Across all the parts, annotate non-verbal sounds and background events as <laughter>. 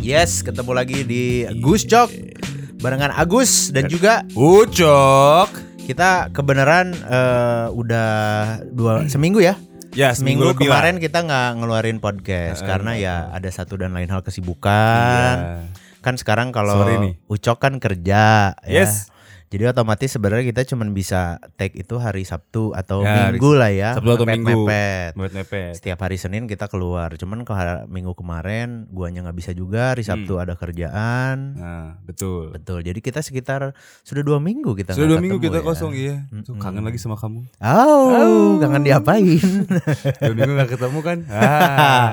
Yes, ketemu lagi di Iya. Gus Cok barengan Agus dan juga Ucok. kita kebenaran eh, udah <clears throat> dua seminggu ya. Ya, Seminggu lebih lah. kemarin kita nggak ngeluarin podcast karena ya ada satu dan lain hal Iya. kesibukan. Kan sekarang kalau Sorry nih. Ucok kan kerja Yes. ya. Jadi otomatis sebenarnya kita cuman bisa take itu hari Sabtu atau Ya, hari Minggu lah ya. Sabtu atau Minggu. Mepet-mepet. Buat nepet. Setiap hari Senin kita keluar. Cuman ke har- minggu kemarin guanya nggak bisa juga. Hmm. Hari Sabtu ada kerjaan. Nah, betul. Betul. Jadi kita sekitar sudah dua minggu kita Sudah dua nggak minggu ketemu kita ya. kosong ya. Tuh, Mm-mm. kangen lagi sama kamu. Oh, kangen diapain? <laughs> Dua minggu gak ketemu kan? Ah.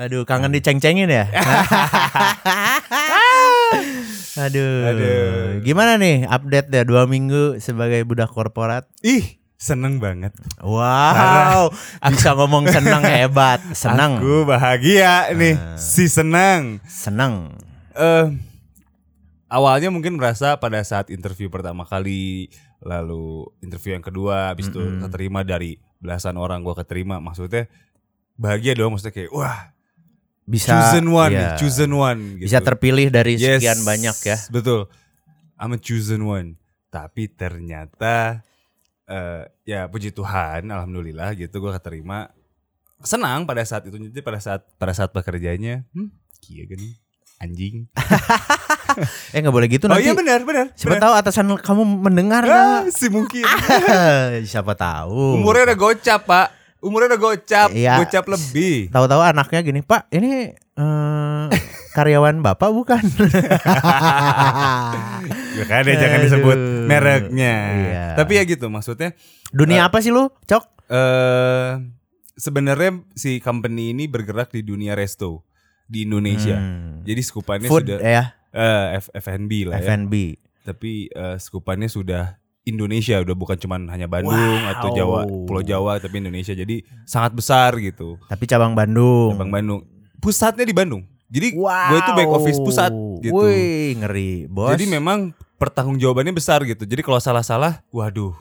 Aduh, kangen diceng-cengin <laughs> ya. Aduh. Aduh. Gimana nih update ya dua minggu sebagai budak korporat? Ih, seneng banget. Wow, bisa ngomong <laughs> senang hebat, senang, Ah. Aku bahagia nih. Si senang. senang. Eh, awalnya mungkin merasa pada saat interview pertama kali, lalu interview yang kedua, habis itu Mm-mm. keterima dari belasan orang gua keterima, maksudnya bahagia dong maksudnya kayak wah Bisa chosen one, ya, nih, chosen one gitu. bisa terpilih dari Yes, sekian banyak ya. Betul. I'm a chosen one. Tapi ternyata eh ya puji Tuhan, alhamdulillah gitu gua keterima. Senang pada saat itu jadi pada saat pada saat bekerjanya, hmm, kia gini anjing. Eh nggak boleh gitu oh nanti. iya benar, benar. Siapa benar. tahu atasan kamu mendengar. Ah, Kak. si mungkin. <laughs> Siapa tahu. Umurnya udah gocap, Pak. Umurnya udah gocap, Iya. gocap lebih. Tahu-tahu anaknya gini, Pak, ini eh, karyawan bapak bukan? <laughs> Ya kan ya jangan disebut Aduh. mereknya. Iya. Tapi ya gitu maksudnya Nah. Dunia apa sih lu, Cok? eh sebenarnya si company ini bergerak di dunia resto di Indonesia. Hmm. Jadi skupannya Food sudah ya, eh, F- F&B lah ya. F&B. Tapi eh, skupannya sudah Indonesia udah bukan cuman hanya Bandung Wow. atau Jawa, Pulau Jawa tapi Indonesia. Jadi sangat besar gitu. Tapi cabang Bandung. Cabang Bandung. Pusatnya di Bandung. Jadi Wow. gue itu back office pusat gitu. Wih, ngeri, Bos. Jadi memang pertanggungjawabannya besar gitu. Jadi kalau salah-salah, waduh.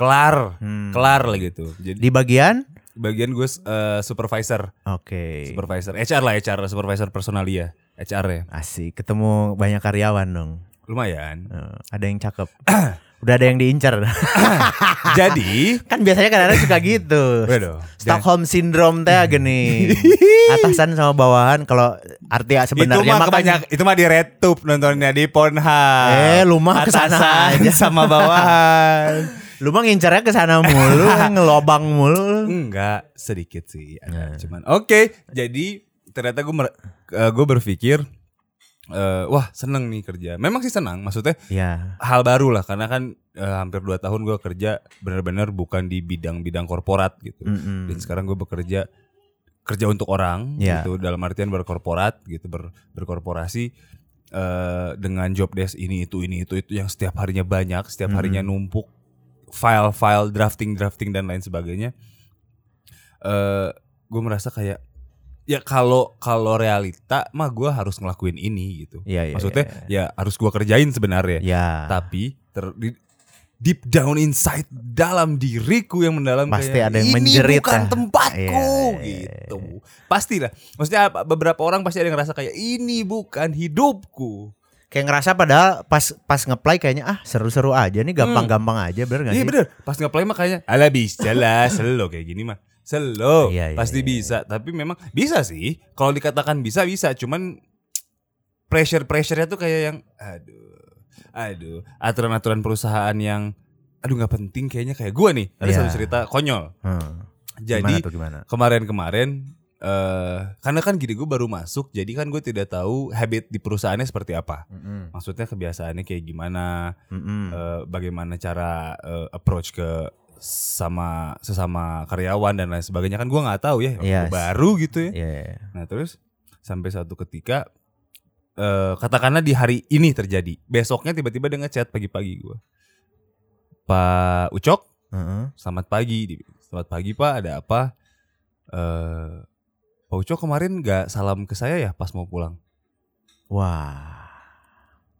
Kelar, Hmm. kelar lah gitu. Jadi di bagian bagian gue eh, supervisor, Oke. supervisor HR lah HR, supervisor personalia, HR ya. Asik, ketemu banyak karyawan dong. Lumayan. Eh, ada yang cakep. <clears throat> Udah ada yang <laughs> diincar. <laughs> Jadi, kan biasanya kadang-kadang suka gitu. waduh. dan- Stockholm syndrome teh Hmm. <laughs> gini. Atasan sama bawahan kalau arti Itu sebenarnya mah mah kan- kebanyak, itu mah di RedTube nontonnya di Pornhub. Eh, lu mah kesana Atasan aja. <laughs> sama bawahan. <laughs> Lu mah ngincarnya ke <laughs> sana mulu, ngelobang mulu. Enggak, sedikit sih. Ada Nah. cuman oke. jadi ternyata gue gue berpikir eh, wah seneng nih kerja. Memang sih senang. Maksudnya Ya. hal baru lah karena kan eh, hampir 2 tahun gue kerja bener-bener bukan di bidang-bidang korporat gitu. Hmm, Dan mm-mm. sekarang gue bekerja kerja untuk orang Ya. gitu dalam artian berkorporat gitu ber- berkorporasi eh, dengan job desk ini itu ini itu itu yang setiap harinya banyak setiap harinya numpuk file-file drafting drafting dan lain sebagainya eh gue merasa kayak ya kalau kalau realita mah gue harus ngelakuin ini gitu Ya, ya, maksudnya ya harus gue kerjain sebenarnya Ya. tapi ter- di- deep down inside dalam diriku yang mendalam Pasti kayak, ada yang ini menjerit bukan lah." tempatku Iya. gitu pastilah maksudnya apa- beberapa orang pasti ada yang ngerasa kayak ini bukan hidupku Kayak ngerasa padahal pas pas ngeplay kayaknya ah seru-seru aja nih gampang-gampang aja bener gak Hmm. iya sih? bener pas ngeplay mah kayaknya ala bisa lah selo kayak gini mah selo Iya, iya, pasti iya. bisa tapi memang bisa sih kalau dikatakan bisa bisa cuman pressure pressure-nya tuh kayak yang aduh aduh aturan-aturan perusahaan yang aduh nggak penting kayaknya kayak gua nih ada Iya. satu cerita konyol Hmm. gimana Jadi tuh gimana? kemarin-kemarin eh karena kan gini gue baru masuk jadi kan gue tidak tahu habit di perusahaannya seperti apa. Mm-mm. Maksudnya kebiasaannya kayak gimana, Mm-mm. eh, bagaimana cara eh, approach ke sama sesama karyawan dan lain sebagainya kan gue nggak tahu ya waktu Yes. baru gitu ya. Iya. Nah terus sampai satu ketika eh katakanlah di hari ini terjadi besoknya tiba-tiba dia ngechat pagi-pagi gue Pak Ucok Heeh. selamat pagi dia bilang. selamat pagi pak ada apa eh pak Uco kemarin nggak salam ke saya ya pas mau pulang Wah.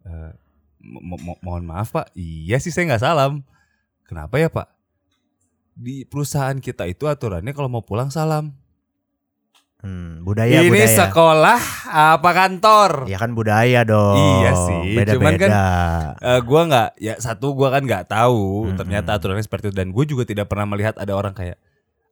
Eh, mo- mo- mohon maaf pak iya sih saya nggak salam kenapa ya pak di perusahaan kita itu aturannya kalau mau pulang salam Hmm, budaya ini budaya. sekolah apa kantor? Ya kan budaya dong. Iya sih, Beda cuman beda. Eh, gua nggak ya satu gua kan nggak tahu Mm-mm. ternyata aturannya seperti itu dan gue juga tidak pernah melihat ada orang kayak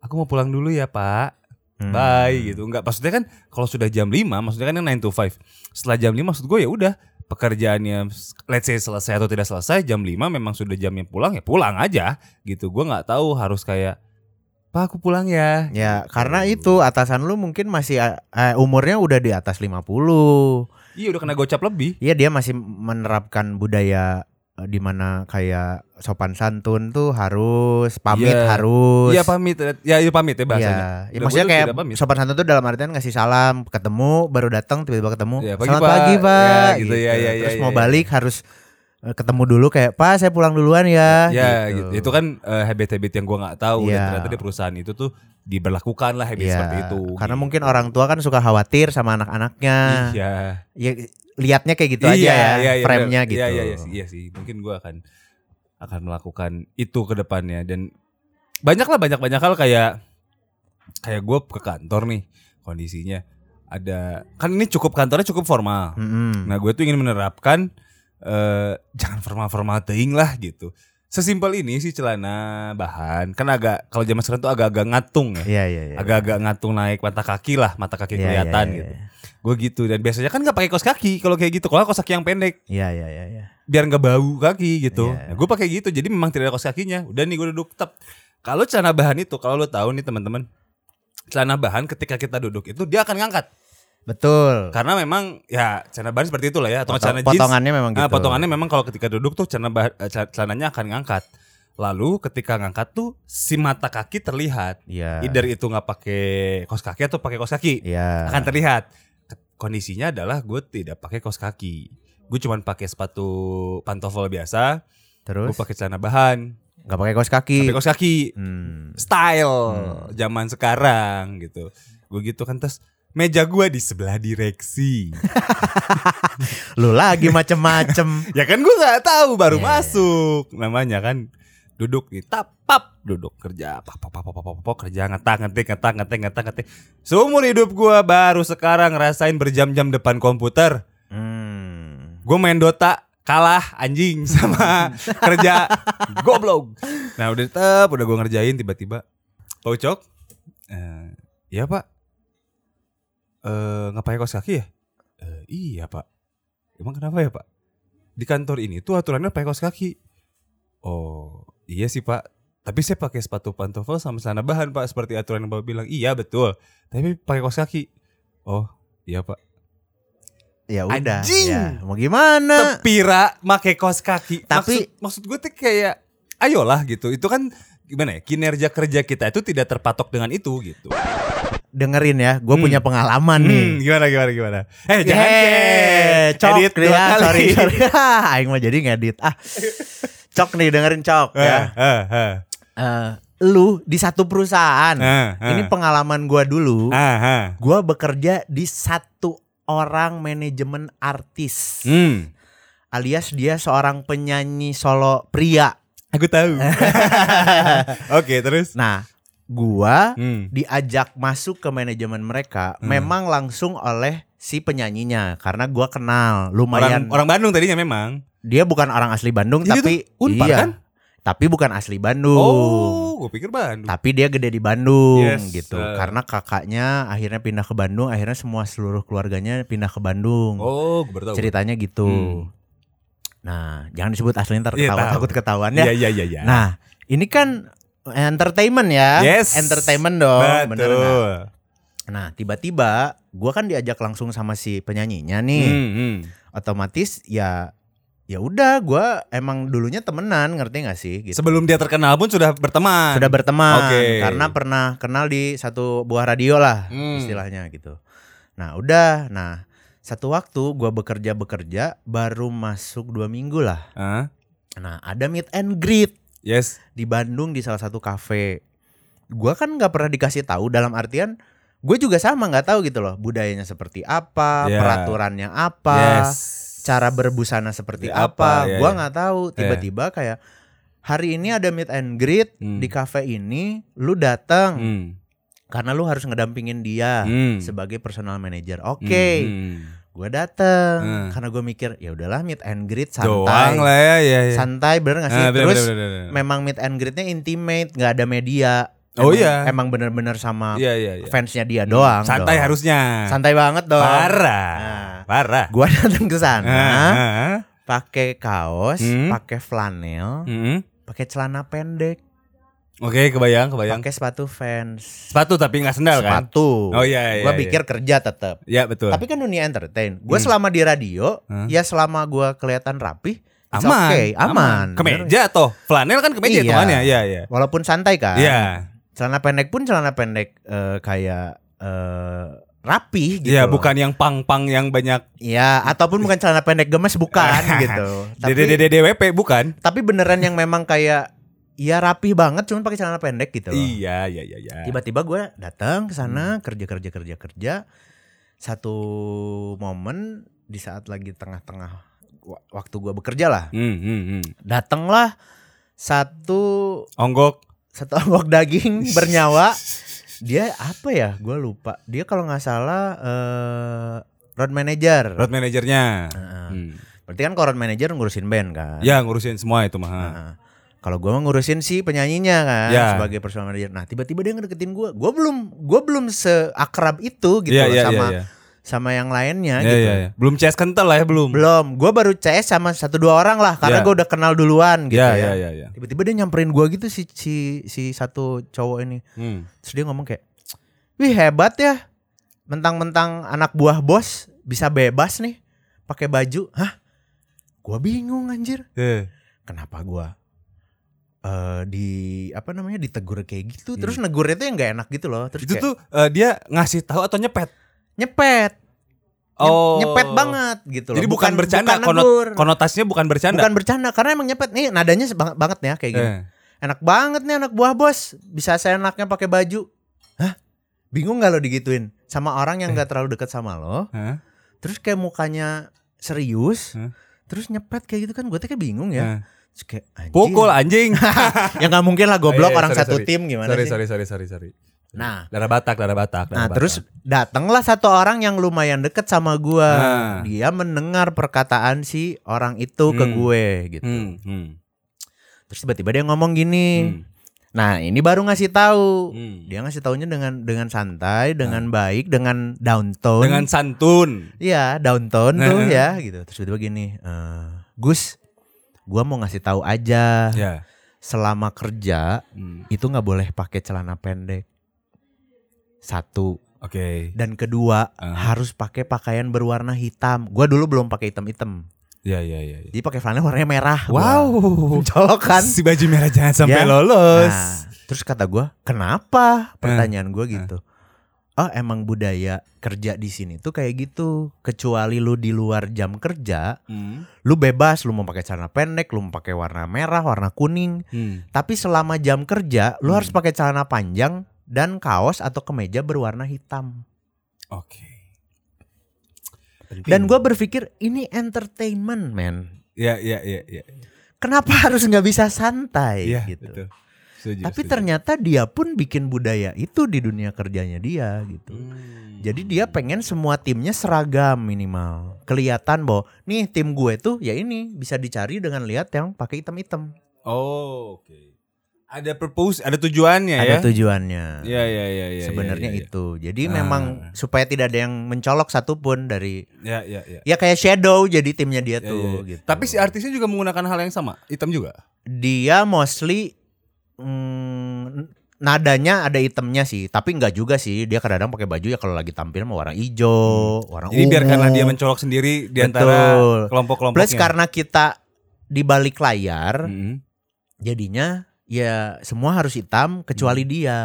aku mau pulang dulu ya pak Hmm. bye gitu nggak maksudnya kan kalau sudah jam 5 maksudnya kan yang 9 to 5 setelah jam 5 maksud gue ya udah pekerjaannya let's say selesai atau tidak selesai jam 5 memang sudah jamnya pulang ya pulang aja gitu gua nggak tahu harus kayak pak aku pulang ya Ya Gitu. karena itu atasan lu mungkin masih eh, umurnya udah di atas 50 iya udah kena gocap lebih Iya dia masih menerapkan budaya eh, di mana kayak sopan santun tuh harus pamit Iya. harus. iya pamit ya, ya pamit ya bahasanya Iya. Ya, Dan maksudnya gua tuh kayak tidak pamit. sopan santun tuh dalam artian ngasih salam, ketemu baru datang tiba-tiba ketemu. Iya, pagi, Selamat Pak." pagi, Ya, Pak. gitu, ya, ya, ya, Terus ya, mau ya. balik harus eh, ketemu dulu kayak, "Pak, saya pulang duluan ya." Ya gitu. Itu kan eh, habit-habit yang gua nggak tahu dan Iya. ternyata di perusahaan itu tuh diberlakukan lah habit Iya, seperti itu. Karena gitu. mungkin orang tua kan suka khawatir sama anak-anaknya. Iya. Ya lihatnya kayak gitu aja ya, frame-nya bener. gitu. Iya, iya, iya, sih, iya sih. Mungkin gua akan akan melakukan itu ke depannya dan banyak lah banyak-banyak hal kayak kayak gua ke kantor nih kondisinya ada kan ini cukup kantornya cukup formal. Mm-mm. Nah, gue tuh ingin menerapkan eh jangan formal-formal teing lah gitu. Sesimpel ini sih celana bahan. Kan agak kalau zaman sekarang tuh agak-agak ngatung ya. Iya, iya, iya. Agak-agak ngatung naik mata kaki lah, mata kaki Iya, iya, kelihatan iya, gitu. Gue gitu dan biasanya kan nggak pakai kaos kaki kalau kayak gitu. Kalau kaos kaki yang pendek Iya, iya, iya, iya. biar nggak bau kaki gitu. Iya. Nah, gue pakai gitu. Jadi memang tidak ada kaos kakinya. Udah nih gue duduk tep. Kalau celana bahan itu kalau lo tahu nih teman-teman, celana bahan ketika kita duduk itu dia akan ngangkat. Betul. Karena memang ya celana bahan seperti itulah ya atau Potong- celana jeans potongannya memang gitu. Nah, potongannya memang kalau ketika duduk tuh celana bah- eh, cel- celananya akan ngangkat. Lalu ketika ngangkat tuh si mata kaki terlihat. Iya. Either itu nggak pakai kaos kaki atau pakai kaos kaki Iya. akan terlihat. Ke- Kondisinya adalah gue tidak pakai kaos kaki. Gue cuman pakai sepatu pantofel biasa. Gue Terus pakai celana bahan. nggak pakai kaos kaki. Pakai kaos kaki. Hmm. Style Hmm. zaman sekarang gitu. Gue gitu kan terus meja gue di sebelah direksi. Lu lagi macem-macem. <laughs> ya kan gue nggak tahu baru Iya, masuk namanya kan duduk nih tap pap duduk kerja pap pap pap pap pap, pap, kerja ngetak ngetik ngetak ngetik ngetak ngetik seumur hidup gue baru sekarang ngerasain berjam-jam depan komputer hmm. gue main Dota kalah anjing <laughs> sama kerja goblok nah udah tetep udah gue ngerjain tiba-tiba Pak Ucok eh, iya pak eh nggak pakai kaos kaki ya "Eh, iya pak emang kenapa ya pak di kantor ini tuh aturannya pakai kaos kaki oh iya sih pak tapi saya pakai sepatu pantofel sama celana bahan pak seperti aturan yang bapak bilang iya betul tapi pakai kaos kaki oh iya pak Ya udah. Anjing! Ya, mau gimana? Tepira make kaos kaki. Tapi- maksud, maksud gue tuh kayak ayolah gitu. Itu kan gimana ya? Kinerja kerja kita itu tidak terpatok dengan itu gitu. Dengerin ya, gue Hmm. punya pengalaman nih. Hmm, gimana gimana gimana. Eh jangan Yeay, Ken. cok Edit nih dua ya, kali. <laughs> sorry sorry. Hah, Aing mah jadi ngedit. Ah, cok nih dengerin cok Eh, ya. eh, eh, Eh, lu di satu perusahaan. eh, eh. Hmm. Ini pengalaman gua dulu. Ah, ah. Gua bekerja di satu orang manajemen artis. Hmm. alias dia seorang penyanyi solo pria. Aku <laughs> tahu. Oke, terus. Nah, gua Hmm. diajak masuk ke manajemen mereka Hmm. memang langsung oleh si penyanyinya karena gua kenal lumayan. Orang orang Bandung tadinya memang. Dia bukan orang asli Bandung Jadi tapi itu Unpar, iya. kan? Tapi bukan asli Bandung. Oh, gue pikir Bandung. Tapi dia gede di Bandung Yes, gitu. eh. Karena kakaknya akhirnya pindah ke Bandung, akhirnya semua seluruh keluarganya pindah ke Bandung. Oh, gue baru tahu. Ceritanya gitu. Hmm. Nah, jangan disebut asli ntar Iya, ketawa, tahu. takut ketahuan ya. Iya, iya, iya, iya. Nah, ini kan entertainment ya. Yes. Entertainment dong, bener nggak? Betul. Nah, tiba-tiba gua kan diajak langsung sama si penyanyinya nih. Hmm, hmm. Otomatis ya ya udah gua emang dulunya temenan, ngerti nggak sih gitu. Sebelum dia terkenal pun sudah berteman. Sudah berteman Oke. karena pernah kenal di satu buah radio lah Hmm. istilahnya gitu. Nah, udah. Nah, satu waktu gua bekerja-bekerja baru masuk dua minggu lah. Hah? Nah, ada meet and greet Yes. di Bandung di salah satu kafe. Gua kan nggak pernah dikasih tahu dalam artian gue juga sama nggak tahu gitu loh budayanya seperti apa, Ya. peraturannya apa, yes. cara berbusana seperti Ya, apa. apa, ya, gua ya. nggak tahu. Tiba-tiba kayak hari ini ada meet and greet Hmm. di kafe ini, lu datang. Hmm. karena lu harus ngedampingin dia Hmm. sebagai personal manager. Oke, Hmm. gue Hmm. dateng karena gue mikir ya udahlah meet and greet Doang santai, lah ya, ya, ya. santai bener gak sih? Ah, bener, Terus bener, bener, bener. memang meet and greetnya intimate, nggak ada media. Oh, Emang- iya. Emang bener-bener sama Iya, iya, iya. fansnya dia doang. Santai dong. harusnya. santai banget dong. Parah. Nah. Parah. Gua <laughs> datang ke Ah, sana ah, ah. pakai kaos, Hmm. pakai flanel, Mm-mm. pakai celana pendek, Hmm. Oke, kebayang, kebayang. pakai sepatu fans. Sepatu tapi nggak sendal kan? Sepatu. Oh, iya, iya, Gua iya. pikir kerja tetap. Ya betul. Tapi kan dunia entertain. Gue Hmm. selama di radio, Hah? ya selama gua kelihatan rapi, it's aman, okay, aman. Bener. Kemeja toh, flanel kan kemeja Iya. hitungannya, ya ya. Walaupun santai kan. Iya, Celana pendek pun celana pendek eh, kayak eh, rapi gitu. iya loh. bukan yang pang-pang yang banyak Iya, ataupun bukan celana pendek gemes <laughs> bukan gitu. Tapi, DDDDWP bukan? tapi beneran yang memang kayak ya rapi banget cuman pakai celana pendek gitu loh. Iya, iya, iya, iya. Tiba-tiba gue datang ke Hmm. sana kerja kerja kerja kerja. Satu momen di saat lagi tengah-tengah wa- waktu gua bekerja lah, Hmm, hmm, hmm. datanglah satu Onggok. satu <laughs> amok <laughs> daging bernyawa. Dia apa ya? Gue lupa. Dia kalau nggak salah eh road manager. Road manajernya. Heeh. Hmm. Berarti kan kalau road manager ngurusin band kan? Ya ngurusin semua itu mah. Heeh. Kalau gue mau ngurusin si penyanyinya kan Ya. sebagai personal manager. Nah tiba-tiba dia ngedeketin gue. Gue belum gue belum seakrab itu gitu Iya, loh iya, sama iya, sama yang lainnya iya. gitu. Iya, iya. Belum CS kental lah ya belum. Belum. Gue baru CS sama satu dua orang lah Ya. karena gue udah kenal duluan gitu Iya, ya. iya, iya, iya. Tiba-tiba dia nyamperin gue gitu si si si satu cowok ini. Hmm. Terus dia ngomong kayak, wih hebat ya, mentang-mentang anak buah bos bisa bebas nih, pakai baju, hah? Gua bingung anjir, Eh, kenapa gua eh di apa namanya ditegur kayak gitu, Hmm. terus negurnya tuh yang nggak enak gitu loh, terus Itu kayak, tuh eh, dia ngasih tahu atau nyepet? nyepet, Nyep- Oh. nyepet banget gitu loh. Jadi bukan bercanda, bukan konot- negur. Konotasinya bukan bercanda. bukan bercanda, karena emang nyepet nih nadanya banget banget ya kayak gini. Eh. Enak banget nih anak buah bos, bisa seenaknya pakai baju. Hah? Bingung gak lo digituin sama orang Eh. yang gak terlalu deket sama lo? Hah? Terus kayak mukanya serius, Hah? terus nyepet kayak gitu kan gue tuh kayak bingung ya. Eh. Terus kayak anjing. Pukul anjing. <laughs> ya nggak mungkin lah Oh, goblok iya, iya, orang sorry, satu sorry. tim gimana sorry, sih? sorry, sorry, sorry, sorry. Nah. darah Batak, darah Batak. darah Nah Batak. terus datanglah satu orang yang lumayan deket sama gua Nah. Dia mendengar perkataan si orang itu ke Hmm. gue gitu. Hmm, hmm, Terus tiba-tiba dia ngomong gini. hmm, Nah ini baru ngasih tahu. hmm. Dia ngasih taunya dengan dengan santai, dengan baik, dengan downtown. Dengan santun. Iya, downtown Heeh. tuh ya gitu. Terus tiba-tiba gini, eh, Gus, gua mau ngasih tahu aja Ya. selama kerja Hmm, itu nggak boleh pakai celana pendek. Satu Oke. dan kedua Ah. harus pakai pakaian berwarna hitam. Gua dulu belum pakai hitam-hitam. Ya, ya, ya. ya. Jadi pakai flanel warnanya merah. Wow. <laughs> colokan. Si baju merah jangan sampai Kan? Ya. lolos. Nah, terus kata gua, "Kenapa?" Pertanyaan Nah, gua gitu. Oh, emang budaya kerja di sini tuh kayak gitu. Kecuali lu di luar jam kerja, Hmm, lu bebas, lu mau pakai celana pendek, lu mau pakai warna merah, warna kuning. hmm. Tapi selama jam kerja, lu Hmm. harus pakai celana panjang dan kaos atau kemeja berwarna hitam. Oke. Penting. Dan Hmm. gua berpikir ini entertainment, man. ya, ya, ya, ya. Kenapa <laughs> harus nggak bisa santai Iya, gitu? betul. Setuju, Tapi setuju. ternyata dia pun bikin budaya itu di dunia kerjanya dia gitu. Hmm. Jadi dia pengen semua timnya seragam minimal. Kelihatan bahwa nih tim gue tuh ya ini bisa dicari dengan lihat yang pakai item-item. Oh, oke. Ada purpose, ada tujuannya ya. Ada tujuannya. Ya, ya, ya, ya. ya, Sebenarnya ya, itu. Jadi Ah. memang supaya tidak ada yang mencolok satupun dari Ya, ya, ya. ya kayak shadow jadi timnya dia Ya, ya, tuh ya. gitu. Tapi si artisnya juga menggunakan hal yang sama, hitam juga. dia mostly mm, nadanya ada itemnya sih, tapi nggak juga sih. Dia kadang-kadang pakai baju ya kalau lagi tampil mau warna hijau, warna Hmm. Jadi ungu. biarkanlah dia mencolok sendiri di antara Oh. Betul. kelompok-kelompoknya. Hmm. Plus karena kita di balik layar, Mm-mm. jadinya ya semua harus hitam kecuali dia.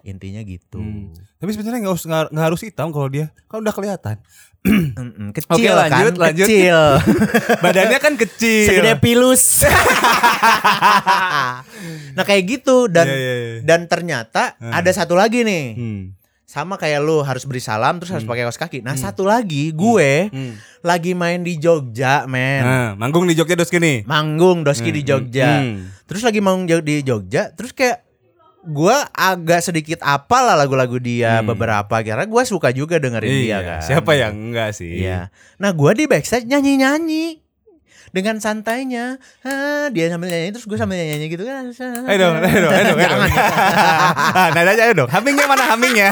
Intinya gitu. Hmm. Tapi sebenarnya nggak harus nggak nggak harus hitam kalau dia kan udah kelihatan. <clears throat> Mm-mm, Oke, Kecil lanjut, kan, lanjut. <laughs> kecil. Badannya kan kecil. segede <laughs> pilus. nah kayak gitu dan Iya, iya, iya. dan ternyata Hmm. ada satu lagi nih. Hmm. Sama kayak lu harus beri salam terus harus pakai kaos kaki. Nah, Hmm. satu lagi gue Hmm. lagi main di Jogja, men. Nah, manggung di Jogja dos kini. Manggung doski di Jogja. Hmm. Terus lagi manggung jo- di Jogja, terus kayak gue agak sedikit apal lah lagu-lagu dia Hmm. beberapa karena gue suka juga dengerin dia Iya, kan. Siapa yang enggak sih? Iya. Nah gue di backstage nyanyi-nyanyi dengan santainya. Ah, dia sambil nyanyi terus gue sambil nyanyi gitu kan. Ayo dong, ayo dong, ayo dong, ayo dong. Jangan, Nah, nadanya ayo dong. Hamingnya mana hamingnya?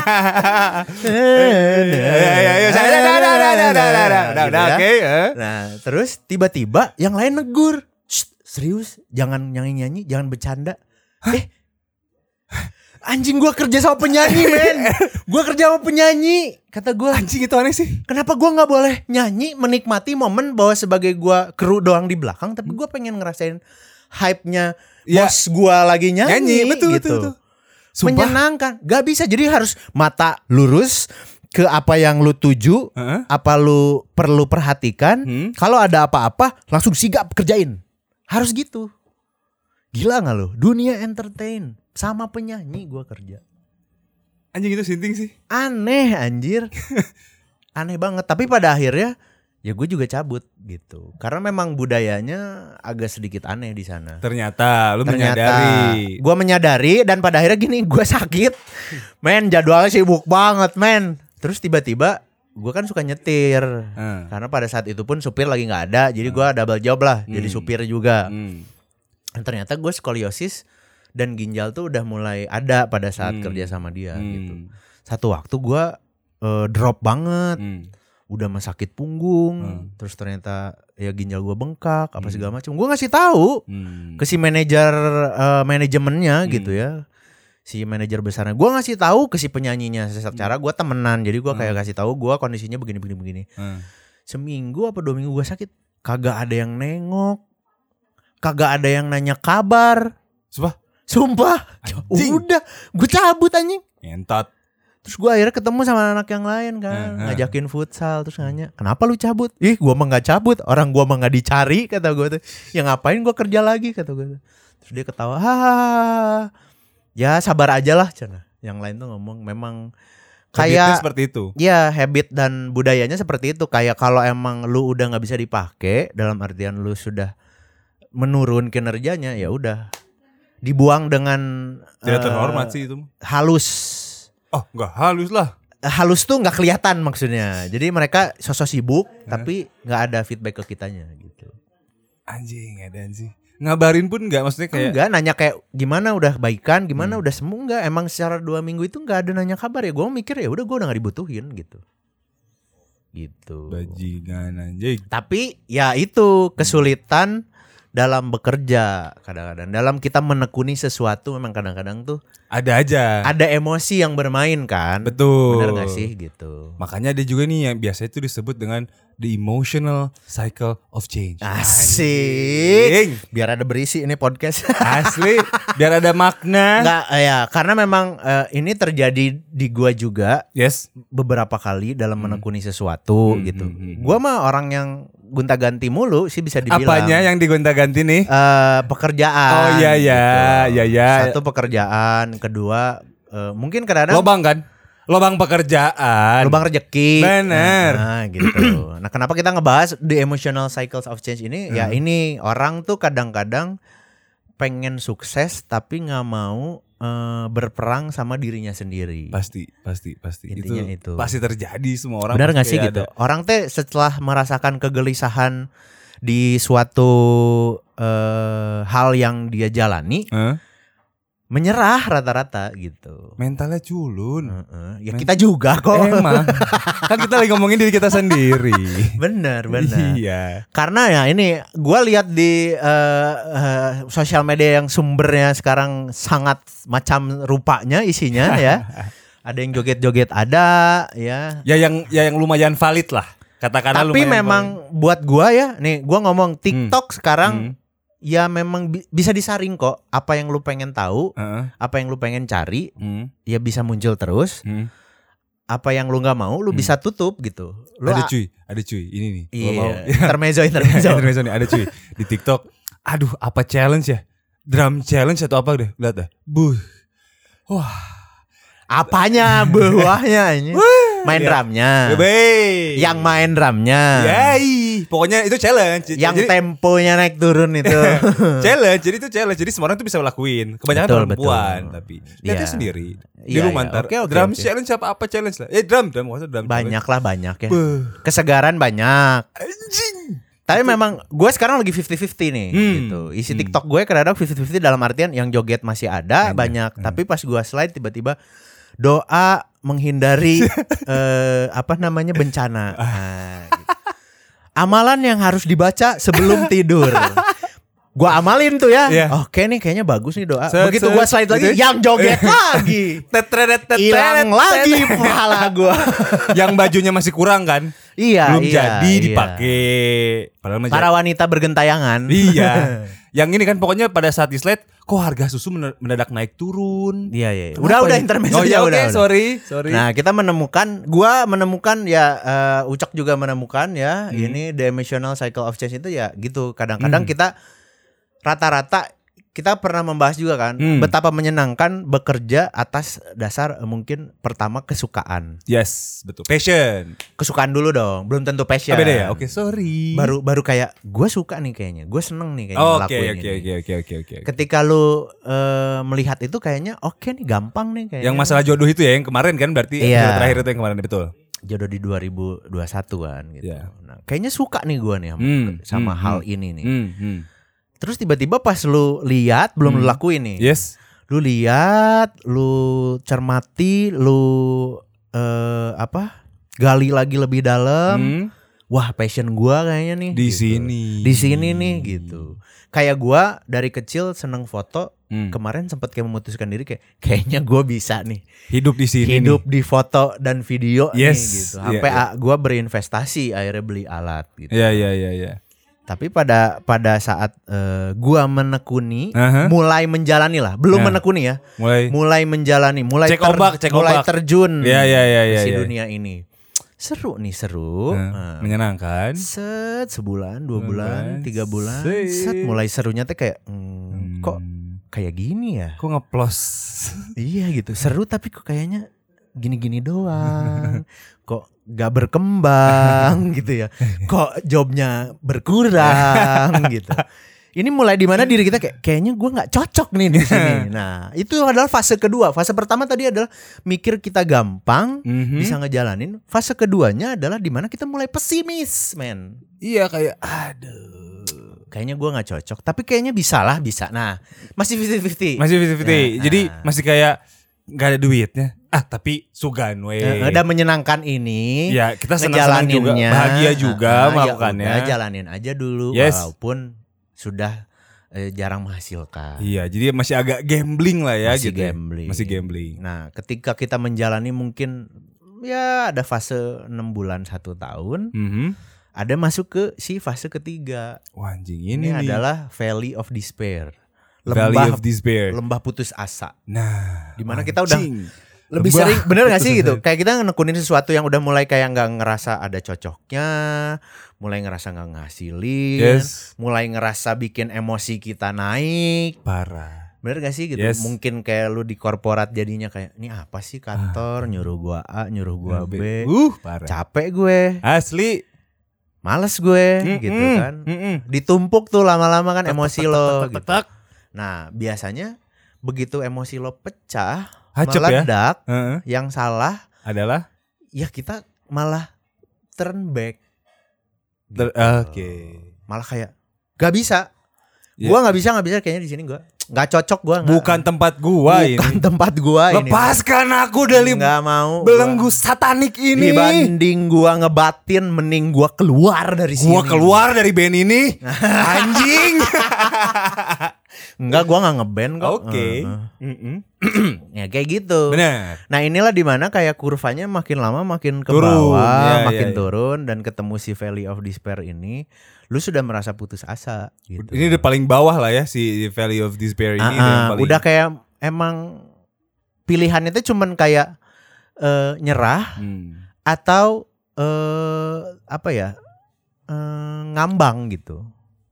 Ayo, ayo, ayo. Udah, udah, udah, udah, udah, udah, udah, udah, udah, Iya, Gitu udah, ya. oke. eh. Nah terus tiba-tiba yang lain negur "Shh, Serius jangan nyanyi-nyanyi Jangan bercanda Eh Anjing gua kerja sama penyanyi men Gua kerja sama penyanyi Kata gua Ah, Anjing itu aneh sih. Kenapa gua nggak boleh nyanyi Menikmati momen bahwa sebagai gua kru doang di belakang Tapi gua pengen ngerasain Hype-nya Ya. Bos gua lagi nyanyi, Nyanyi, betul, gitu. betul, betul. Sumpah. Menyenangkan Gak bisa jadi harus mata lurus Ke apa yang lu tuju Heeh. apa lu perlu perhatikan Hmm. kalau ada apa-apa langsung sigap kerjain harus gitu gila nggak lo dunia entertain sama penyanyi gua kerja Anjing itu sinting sih. aneh anjir <laughs> aneh banget tapi pada akhirnya ya gue juga cabut gitu karena memang budayanya agak sedikit aneh di sana Ternyata lu menyadari. gue menyadari dan pada akhirnya gini <laughs> gue sakit men jadwalnya sibuk banget men terus tiba-tiba gue kan suka nyetir Heeh. karena pada saat itu pun supir lagi nggak ada jadi gue double job lah jadi Hmm. supir juga Hmm. Dan ternyata gue skoliosis dan ginjal tuh udah mulai ada pada saat Hmm. kerja sama dia Hmm. gitu satu waktu gue eh, drop banget Hmm. udah mah sakit punggung Hmm. terus ternyata ya ginjal gue bengkak apa Hmm. segala macam gue ngasih tahu Hmm. ke si manajer eh, manajemennya Hmm. gitu ya si manajer besarnya gua ngasih tahu ke si penyanyinya secara Hmm. gua temenan jadi gua kayak kasih tahu gua kondisinya begini begini begini Heeh. seminggu apa dua minggu gua sakit kagak ada yang nengok kagak ada yang nanya kabar Sumpah? sumpah Anjing. udah gua cabut anjing Entot. Terus gue akhirnya ketemu sama anak yang lain kan Heeh. Ngajakin futsal Terus nanya Kenapa lu cabut? Ih gue mah gak cabut Orang gue mah gak dicari Kata gue tuh Ya ngapain gue kerja lagi Kata gue tuh Terus dia ketawa Hahaha Ya sabar aja lah Cana. Yang lain tuh ngomong Memang Habitnya Kayak seperti itu. Ya habit dan budayanya seperti itu Kayak kalau emang lu udah gak bisa dipakai Dalam artian lu sudah Menurun kinerjanya ya udah Dibuang dengan Tidak eh, terhormat sih itu. Halus Oh, enggak halus lah. halus tuh nggak kelihatan maksudnya. Jadi mereka sosok sibuk Ya. tapi nggak ada feedback ke kitanya gitu. Anjing, edan sih. Ngabarin pun enggak maksudnya kayak Hmm. Enggak Kan nanya kayak gimana udah baikan, gimana udah sembuh enggak. Emang secara dua minggu itu nggak ada nanya kabar ya. Gue mikir ya udah gue udah nggak dibutuhin gitu. Gitu. bajingan anjing. Tapi ya itu kesulitan dalam bekerja kadang-kadang dalam kita menekuni sesuatu memang kadang-kadang tuh Ada aja. ada emosi yang bermain kan Ya. Betul. bener gak sih gitu Makanya ada juga nih yang biasanya itu disebut dengan the emotional cycle of change. asik biar ada berisi ini podcast <laughs> Asli, biar ada makna. Enggak ya, karena memang eh, ini terjadi di gua juga Yes. beberapa kali dalam menekuni sesuatu Hmm, gitu. hmm, hmm, hmm. Gua mah orang yang gunta-ganti mulu sih bisa dibilang. Apanya yang digonta-ganti nih? Eh, pekerjaan. gitu. Oh, iya, iya, iya, iya. Satu pekerjaan, kedua eh, mungkin kadang Lobang kan? Lobang pekerjaan. lubang rezeki. Bener. Nah, gitu. Nah, kenapa kita ngebahas the emotional cycles of change ini? Ya Hmm. ini orang tuh kadang-kadang pengen sukses tapi nggak mau eh, berperang sama dirinya sendiri. Pasti, pasti, pasti. Intinya itu. pasti terjadi semua orang. Benar nggak pasti sih gitu? ada. Orang teh setelah merasakan kegelisahan di suatu eh, hal yang dia jalani, Hah? menyerah rata-rata gitu. Mentalnya culun. Heeh. Ya kita juga kok. Emang. kan kita lagi ngomongin diri kita sendiri. <laughs> Bener bener. Iya. Karena ya ini gua lihat di eh, eh, sosial media yang sumbernya sekarang sangat macam rupanya <laughs> isinya ya. Ada yang joget-joget ada ya. Ya yang ya yang lumayan valid lah. Katakanlah lumayan Tapi valid. memang buat gua ya, nih gua ngomong TikTok Hmm. sekarang ya memang bi- bisa disaring kok apa yang lu pengen tahu, Hmm. Heeh. apa yang lu pengen cari Hmm. ya bisa muncul terus, Hmm. apa yang lu nggak mau lu bisa tutup gitu. Lu ada a- cuy, ada cuy. Ini nih. Gua Iya, mau. <laughs> <laughs> intermezzo intermezzo. Intermezzo nih, ada cuy di TikTok. Aduh, apa challenge ya? Drum challenge atau apa deh? Lihat deh. Buh. Nah. Apanya buahnya ini? main Iya. drumnya. Bebe. Yang main drumnya. Yai. lagi. Pokoknya itu challenge. yang iya. Jadi- temponya naik turun <laughs> itu. <laughs> challenge jadi itu challenge jadi semua orang tuh bisa ngelakuin kebanyakan Betul, perempuan betul. tapi Iya. lihatnya sendiri di Iya, rumah iya. ntar Oke, oke, drum oke. challenge apa apa challenge lah eh drum drum maksudnya drum banyak lah banyak ya. challenge. Beuh, Kesegaran banyak. anjing Tapi memang gue sekarang lagi 50-50 nih Hmm. gitu. Isi Hmm. TikTok gue kadang-kadang 50-50 dalam artian yang joget masih ada Banyak, banyak, hmm. tapi pas gue slide tiba-tiba doa <laughs> menghindari eh, apa namanya bencana. Nah, gitu. Amalan yang harus dibaca <laughs> sebelum tidur. Gua amalin tuh ya. Iya. Oke nih kayaknya bagus nih doa. Set, Begitu set, gua slide lagi gitu ya. yang joget <laughs> lagi. Tetreret, tetreret, tetreret. Hilang lagi pahala <laughs> gua. yang bajunya masih kurang kan iya, belum iya, jadi iya. dipakai padahal mah Para <laughs> jadi. wanita bergentayangan. iya yang ini kan pokoknya pada saat di slide kok harga susu mener- mendadak naik turun Iya iya. iya. Kenapa Udah udah ini? intermezzo oh, ya, ya, oke udah. udah. sorry sorry Nah, kita menemukan gua menemukan ya eh, Ucok juga menemukan ya, Hmm. ini the emotional cycle of change itu ya gitu. Kadang-kadang Hmm. kita rata-rata kita pernah membahas juga kan Hmm. betapa menyenangkan bekerja atas dasar eh, mungkin pertama kesukaan. yes betul passion Kesukaan dulu dong, belum tentu Ah, passion. beda ya oke sorry Iya. Baru baru kayak gue suka nih kayaknya, gue seneng nih kayaknya oke ngelakuin oke ini. oke oke oke oke Ketika lu eh, melihat itu kayaknya oke nih gampang nih kayaknya. Yang masalah jodoh itu ya yang kemarin kan berarti Iya. episode terakhir itu yang kemarin betul. jodoh di 2021 kan gitu. Iya. Nah, kayaknya suka nih gua nih sama, Hmm, sama hmm, hal ini nih. Hmm, Terus tiba-tiba pas lu lihat belum lu lakuin nih. Yes. Lu lihat, lu cermati, lu eh apa? gali lagi lebih dalam. Hmm. Wah, passion gua kayaknya nih. Di gitu. sini. Di sini nih gitu. Kayak gua dari kecil seneng foto, Hmm. kemarin sempat kayak memutuskan diri kayak kayaknya gua bisa nih Hidup di sini. hidup di foto dan video Yes. nih gitu. Iya, Sampai iya. ah, gua berinvestasi akhirnya beli alat gitu. nih. Ya ya ya ya. Tapi pada pada saat eh, gua menekuni, Aha. mulai menjalani lah, belum Ya. menekuni ya, Mulai. mulai menjalani, mulai Cek ombak, cek mulai ombak. terjun Ya ya ya ya. si ya. dunia ini. Seru nih seru. Nah, Nah, menyenangkan. set sebulan, dua Bulan, bulan, tiga bulan, set set. mulai serunya teh kayak hmm, kok Hmm. kayak gini ya? kok ngeplos. Iya gitu seru tapi kok kayaknya gini-gini doang kok gak berkembang gitu ya kok jobnya berkurang gitu ini mulai di mana diri kita kayak kayaknya gue nggak cocok nih di sini nah itu adalah fase kedua fase pertama tadi adalah mikir kita gampang Mhm. bisa ngejalanin fase keduanya adalah di mana kita mulai pesimis men Iya kayak aduh. kayaknya gue nggak cocok tapi kayaknya bisa lah bisa nah masih 50-50 Masih 50-50. Ya, Jadi ah. masih kayak nggak ada duitnya. Ah, tapi sugan we. Eh, dan menyenangkan ini Ya, kita senang-senang juga, ngejalaninnya bahagia juga Ah, ah, ya melakukannya. udah, jalanin aja dulu Yes. walaupun sudah eh, jarang menghasilkan Iya, jadi masih agak gambling lah ya Masih gitu. ya. gambling. Masih gambling. nah ketika kita menjalani mungkin ya ada fase enam bulan satu tahun Mhm. ada masuk ke si fase ketiga Wah, anjing ini, ini, nih. adalah valley of despair Valley lembah of Despair. lembah putus asa Nah, Dimana kita udah anjing. lebih Lembah. sering bener gak sih gitu kayak kita nekunin sesuatu yang udah mulai kayak nggak ngerasa ada cocoknya mulai ngerasa nggak ngasilin Yes. mulai ngerasa bikin emosi kita naik Parah. bener gak sih gitu Yes. mungkin kayak lu di korporat jadinya kayak ini apa sih kantor nyuruh gua A nyuruh gua B Ah. Uh, parah. capek gue Asli. males gue gitu Mm-mm. kan Mm-mm. ditumpuk tuh lama-lama kan emosi lo Tek, gitu. tek. nah biasanya begitu emosi lo pecah Hacep ya. meledak Heeh. yang salah Adalah ya kita malah turn back ter- Gitu. oke. malah kayak gak bisa Ya. gua nggak bisa nggak bisa kayaknya di sini gua nggak cocok gua nggak- Bukan tempat gua ini. bukan Iya, tempat gua ini Lepaskan aku dari nggak mau gua. belenggu satanik ini. dibanding gua ngebatin mending gua keluar dari sini Gua keluar dari band <laughs> ini. Anjing. nggak gua nggak ngeband kok Oke. Heeh. Mm-mm. ya kayak gitu Benar. nah inilah dimana kayak kurvanya makin lama makin ke Turun, bawah ya, makin ya, ya. turun dan ketemu si valley of despair ini lu sudah merasa putus asa gitu Ini udah paling bawah lah ya si Valley of Despair ini. Ah, udah yang ah, paling- udah kayak emang pilihannya tuh cuman kayak eh, nyerah Hmm. atau eh apa ya eh, ngambang gitu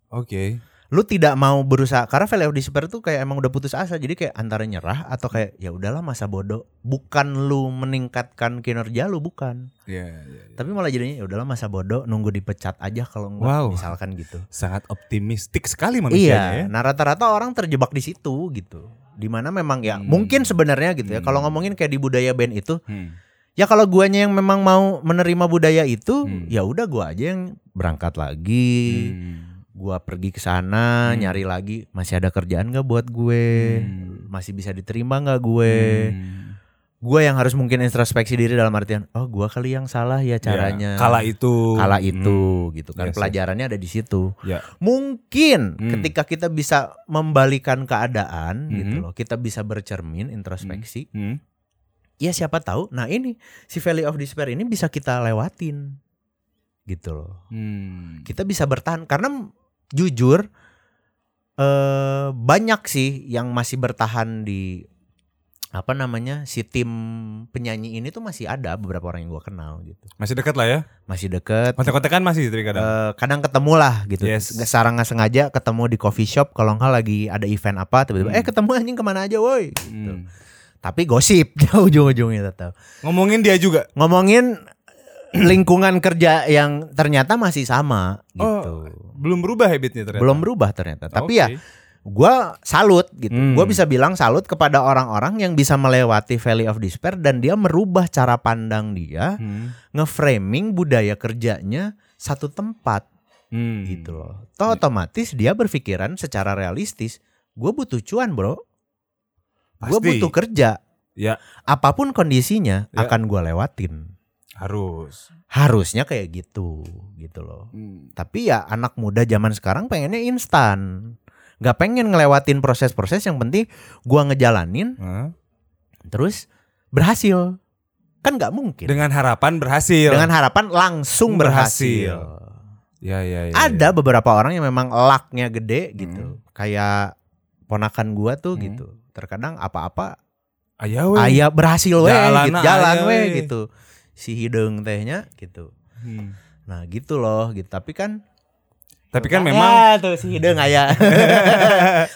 Oke. lu tidak mau berusaha karena Valley of Despair tuh kayak emang udah putus asa jadi kayak antara nyerah atau kayak ya udahlah masa bodoh bukan lu meningkatkan kinerja lu bukan Iya, iya, iya. tapi malah jadinya ya udahlah masa bodoh nunggu dipecat aja kalau enggak Wow. misalkan gitu Sangat optimistik sekali iya manusianya ya. nah rata-rata orang terjebak di situ gitu dimana memang ya Hmm. mungkin sebenarnya gitu ya Hmm. kalau ngomongin kayak di budaya band itu Hmm. ya kalau guanya yang memang mau menerima budaya itu Hmm. ya udah gua aja yang berangkat lagi Hmm. gua pergi ke sana Hmm. nyari lagi masih ada kerjaan nggak buat gue Hmm. masih bisa diterima nggak gue Hmm. gue yang harus mungkin introspeksi diri dalam artian oh gua kali yang salah ya Ya, caranya kala itu. kala itu gitu kan Yes, yes. pelajarannya ada di situ. Ya. Mungkin Hmm. ketika kita bisa membalikan keadaan gitu Mhm. loh, kita bisa bercermin introspeksi. Hmm. Ya siapa tahu. Nah, ini si Valley of Despair ini bisa kita lewatin. Gitu loh. Hmm. Kita bisa bertahan karena jujur eh banyak sih yang masih bertahan di apa namanya si tim penyanyi ini tuh masih ada beberapa orang yang gua kenal gitu Masih dekat lah ya. masih deket Kontak-kontakan masih tapi kadang. Eh, kadang ketemu lah gitu. Yes. Nggak- Secara nggak sengaja ketemu di coffee shop kalau nggak lagi ada event apa tiba-tiba Hmm. eh ketemu anjing kemana aja woi. gitu. Hmm. Tapi gosip <laughs> ujung-ujungnya tetap. Ngomongin dia juga. Ngomongin eh, lingkungan kerja yang ternyata masih sama gitu. Belum berubah habitnya Oh. ternyata. Belum berubah ternyata. Tapi ya gua salut gitu. Hmm. Gua bisa bilang salut kepada orang-orang yang bisa melewati Valley of Despair dan dia merubah cara pandang dia, Hmm. ngeframing budaya kerjanya satu tempat Hmm. gitu loh. Toh otomatis dia berpikiran secara realistis, gue butuh cuan bro, gue Pasti. butuh kerja. Ya. Apapun kondisinya Ya. akan gue lewatin. Harus. Harusnya kayak gitu, gitu loh. Tapi ya anak muda zaman sekarang pengennya instan. Gak pengen ngelewatin proses-proses yang penting gue ngejalanin Hah? terus berhasil. Kan gak mungkin. Dengan harapan berhasil. Dengan harapan langsung Berhasil. berhasil. Ya, ya, ya, ya. ada beberapa orang yang memang lucknya gede gitu kayak ponakan gua tuh Hmm. gitu terkadang apa-apa Ayah, weh. ayah berhasil weh Jalana gitu jalan aya weh we. gitu si hidung tehnya gitu Hmm. nah gitu loh gitu tapi kan Tapi kan Ah, memang ya, tuh si hidung <laughs> ayah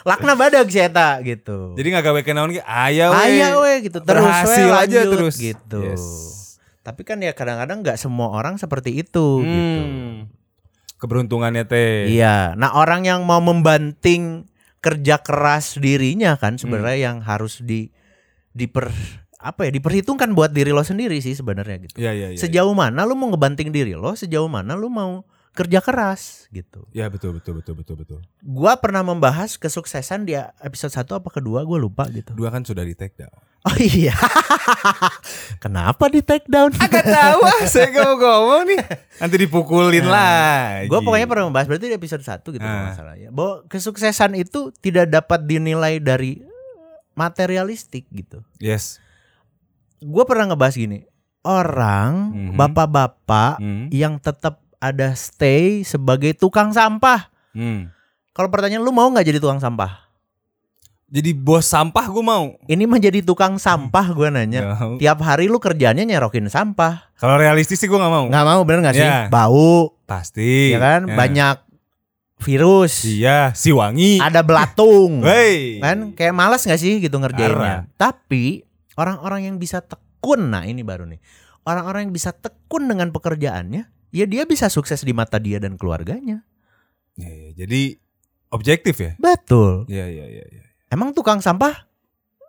lakna badag si eta gitu jadi nggak gawe kenaon ge aya we. ayah weh gitu terus berhasil we, aja lanjut, terus. gitu Yes. tapi kan ya kadang-kadang nggak semua orang seperti itu gitu Hmm. Keberuntungannya teh. Iya. Nah orang yang mau membanting kerja keras dirinya kan sebenarnya Hmm. yang harus di diper apa ya diperhitungkan buat diri lo sendiri sih sebenarnya gitu. Ya, ya, ya. sejauh mana lu mau ngebanting diri lo, sejauh mana lu mau kerja keras gitu. Ya, betul, betul, betul, betul, betul. Gua pernah membahas kesuksesan di episode 1 apa kedua gue lupa gitu. <laughs> Dua kan sudah di take down. Oh iya. <laughs> Kenapa di take <laughs> down? Agak tahu ah, saya nggak mau ngomong nih. Nanti dipukulin lah. Gue Nah, pokoknya pernah membahas berarti di episode 1 gitu Ah. kalau nggak salah ya. Bahwa kesuksesan itu tidak dapat dinilai dari materialistik gitu. Yes. Gue pernah ngebahas gini, orang Mhm. bapak-bapak Hmm. yang tetap ada stay sebagai tukang sampah. Hmm. Kalau pertanyaan lu mau nggak jadi tukang sampah? Jadi bos sampah gue mau. Ini menjadi tukang sampah gue nanya. Nggak mau. Tiap hari lu kerjanya nyerokin sampah. Kalau realistis sih gue nggak mau. Nggak mau bener nggak sih? Ya. Bau, Pasti. ya kan? Ya. Banyak virus, Iya, si wangi. ada belatung. Wey. kan kayak malas nggak sih gitu ngerjainnya Parah. tapi orang-orang yang bisa tekun nah ini baru nih orang-orang yang bisa tekun dengan pekerjaannya ya dia bisa sukses di mata dia dan keluarganya Ya, ya, jadi objektif ya. betul Iya, iya, iya, iya. emang tukang sampah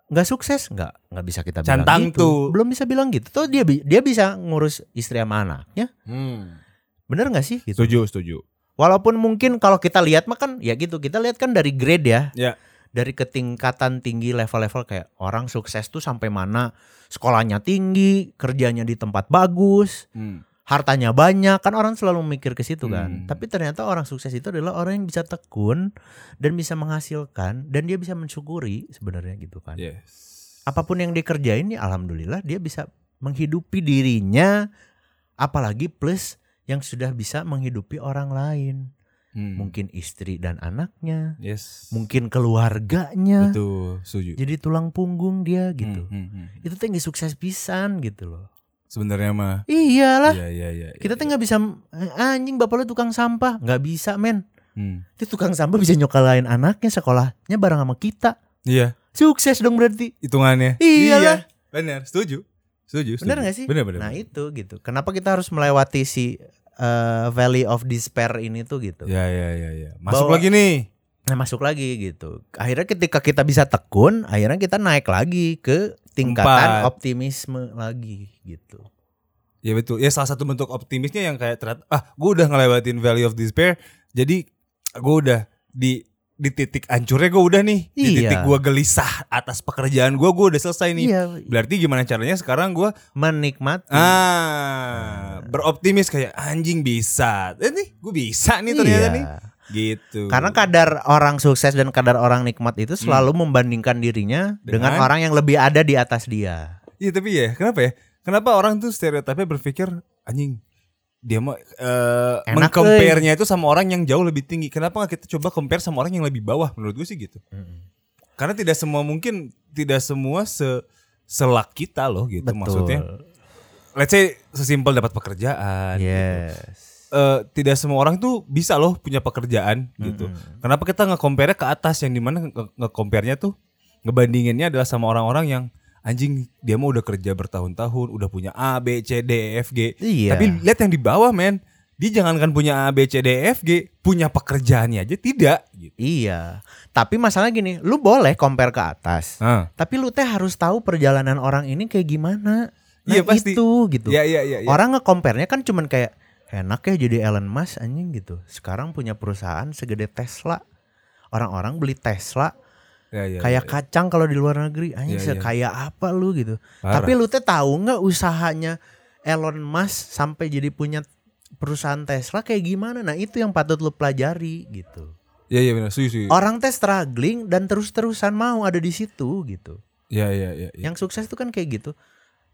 nggak sukses nggak nggak bisa kita bilang Cantang gitu. tuh. belum bisa bilang gitu tuh dia bi- dia bisa ngurus istri sama anaknya Hmm. bener nggak sih gitu Setuju, setuju. walaupun mungkin kalau kita lihat mah kan ya gitu kita lihat kan dari grade ya Ya. dari ketingkatan tinggi level-level kayak orang sukses tuh sampai mana sekolahnya tinggi kerjanya di tempat bagus hartanya banyak kan orang selalu mikir ke situ kan Hmm. tapi ternyata orang sukses itu adalah orang yang bisa tekun dan bisa menghasilkan dan dia bisa mensyukuri sebenarnya gitu kan Yes. apapun yang dikerjain ya alhamdulillah dia bisa menghidupi dirinya apalagi plus yang sudah bisa menghidupi orang lain Hmm. mungkin istri dan anaknya Yes. mungkin keluarganya Betul, setuju. jadi tulang punggung dia gitu. Hmm, hmm, hmm. Itu tuh nggak sukses pisan gitu loh. Sebenarnya mah. Iyalah, Iya, iya, iya. kita iya. tuh nggak bisa "Eh, anjing bapak lu tukang sampah, nggak bisa men. Hmm. Itu tukang sampah bisa nyokalain anaknya sekolahnya bareng sama kita. Iya, Sukses dong berarti. hitungannya. Iyalah. Benar, setuju. Setuju. Bener setuju. gak sih? Bener, bener. Nah itu gitu. Kenapa kita harus melewati si eh, Valley of Despair ini tuh gitu. Ya, ya, ya, ya. Masuk Bahwa- lagi nih. Nah masuk lagi gitu. Akhirnya ketika kita bisa tekun, akhirnya kita naik lagi ke Empat. tingkatan optimisme lagi gitu. Ya betul. Ya salah satu bentuk optimisnya yang kayak ternyata ah gue udah ngelewatin Valley of Despair. Jadi gue udah di di titik hancurnya gue udah nih. Di Iya. titik gue gelisah atas pekerjaan gue gue udah selesai nih. Iya, Berarti gimana caranya sekarang gue menikmati. ah Iya. beroptimis kayak anjing bisa. Eh nih gue bisa nih ternyata Iya. Kan nih. Gitu. Karena kadar orang sukses dan kadar orang nikmat itu selalu membandingkan dirinya dengan, Hmm. Dengan? orang yang lebih ada di atas dia. Iya tapi ya kenapa ya? Kenapa orang tuh stereotipnya berpikir anjing dia mau eh Enak, mengcompare-nya itu sama orang yang jauh lebih tinggi. Kenapa nggak kita coba compare sama orang yang lebih bawah? Menurut gue sih gitu. Karena tidak semua mungkin tidak semua se selak kita loh gitu Betul. maksudnya. Let's say sesimpel dapat pekerjaan. Yes. Eh, tidak semua orang tuh bisa loh punya pekerjaan gitu. Kenapa kita nge-compare ke atas yang dimana nge- nge-compare-nya tuh ngebandinginnya adalah sama orang-orang yang anjing dia mah udah kerja bertahun-tahun, udah punya A, B, C, D, E, F, G. Iya. Tapi lihat yang di bawah, men. Dia jangankan punya A, B, C, D, E, F, G, punya pekerjaannya aja tidak gitu. Iya. Tapi masalah gini, lu boleh compare ke atas. Ah. Tapi lu teh harus tahu perjalanan orang ini kayak gimana. Nah, Iya, pasti. itu gitu. Iya, iya, iya, iya. Orang nge-compare-nya kan cuman kayak enak ya jadi Elon Musk anjing gitu. Sekarang punya perusahaan segede Tesla. Orang-orang beli Tesla Iya, iya, kayak iya. kacang kalau di luar negeri Iya, anjing iya. sekaya apa lu gitu Parah. tapi lu teh tahu nggak usahanya Elon Musk sampai jadi punya perusahaan Tesla kayak gimana nah itu yang patut lu pelajari gitu Iya, iya benar. Setuju, setuju. orang teh struggling dan terus-terusan mau ada di situ gitu Iya, iya, iya, iya. yang sukses tuh kan kayak gitu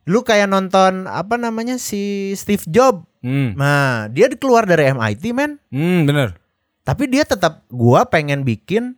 lu kayak nonton apa namanya si Steve Jobs Hmm. nah dia keluar dari MIT men Hmm, benar. tapi dia tetap gua pengen bikin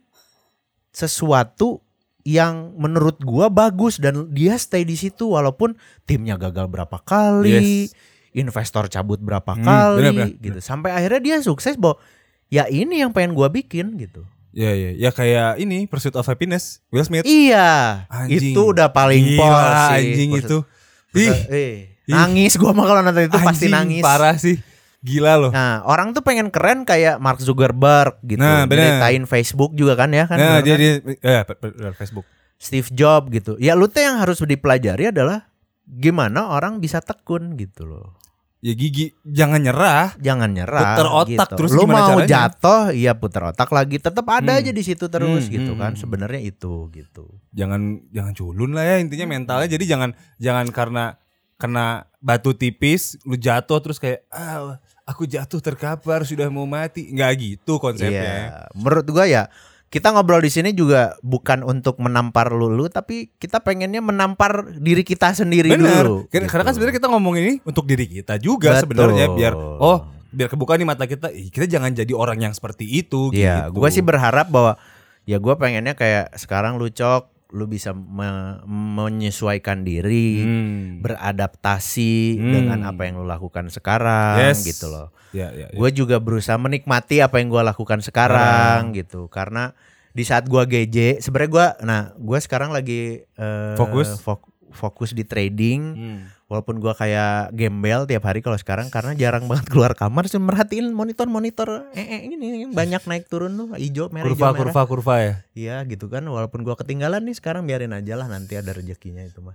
sesuatu yang menurut gua bagus dan dia stay di situ walaupun timnya gagal berapa kali, Yes. investor cabut berapa Hmm, kali benar-benar. gitu. Sampai akhirnya dia sukses bahwa ya ini yang pengen gua bikin gitu. Iya, iya. Ya kayak ini Pursuit of Happiness, Will Smith. Iya, Anjing. itu udah paling Gila, pol sih. anjing Maksud- itu. maksud- Ih, eh, Ih. nangis gua mah kalau nonton itu pasti anjing, nangis. Parah sih. Gila loh. Nah, orang tuh pengen keren kayak Mark Zuckerberg gitu. Nah, benar. Nyeritain Facebook juga kan ya kan. nah, benar kan? jadi eh, pe- pe- benar, Facebook. Steve Jobs gitu. Ya lu teh yang harus dipelajari adalah gimana orang bisa tekun gitu loh. Ya gigi jangan nyerah. Jangan nyerah. Puter otak gitu. terus lu gimana mau caranya? jatuh, ya puter otak lagi. Tetap ada Hmm. aja di situ terus Hmm, gitu hmm, kan. hmm. Sebenarnya itu gitu. Jangan jangan culun lah ya intinya mentalnya. Jadi jangan jangan karena kena batu tipis lu jatuh terus kayak ah aku jatuh terkapar sudah mau mati. Nggak gitu konsepnya. Iya. Menurut gua ya kita ngobrol di sini juga bukan untuk menampar lulu tapi kita pengennya menampar diri kita sendiri Bener. dulu. Karena karena kan gitu. sebenarnya kita ngomong ini untuk diri kita juga Betul. sebenarnya biar oh biar kebuka nih mata kita. Ih, kita jangan jadi orang yang seperti itu. Iya, gitu. gue sih berharap bahwa ya gue pengennya kayak sekarang lu cok, lu bisa me- menyesuaikan diri, Hmm. beradaptasi Hmm. dengan apa yang lu lakukan sekarang Yes. gitu loh. Ya, ya, ya. Gue juga berusaha menikmati apa yang gue lakukan sekarang gitu karena di saat gue GJ, sebenarnya gue, nah gue sekarang lagi eh, Fokus? fok- fokus di trading Hmm. walaupun gua kayak gembel tiap hari kalau sekarang karena jarang banget keluar kamar cuma merhatiin monitor monitor eh, eh, ini banyak naik turun tuh hijau merah Kurva, hijau, merah kurva, kurva ya. iya gitu kan walaupun gua ketinggalan nih sekarang biarin aja lah nanti ada rezekinya itu <laughs> mah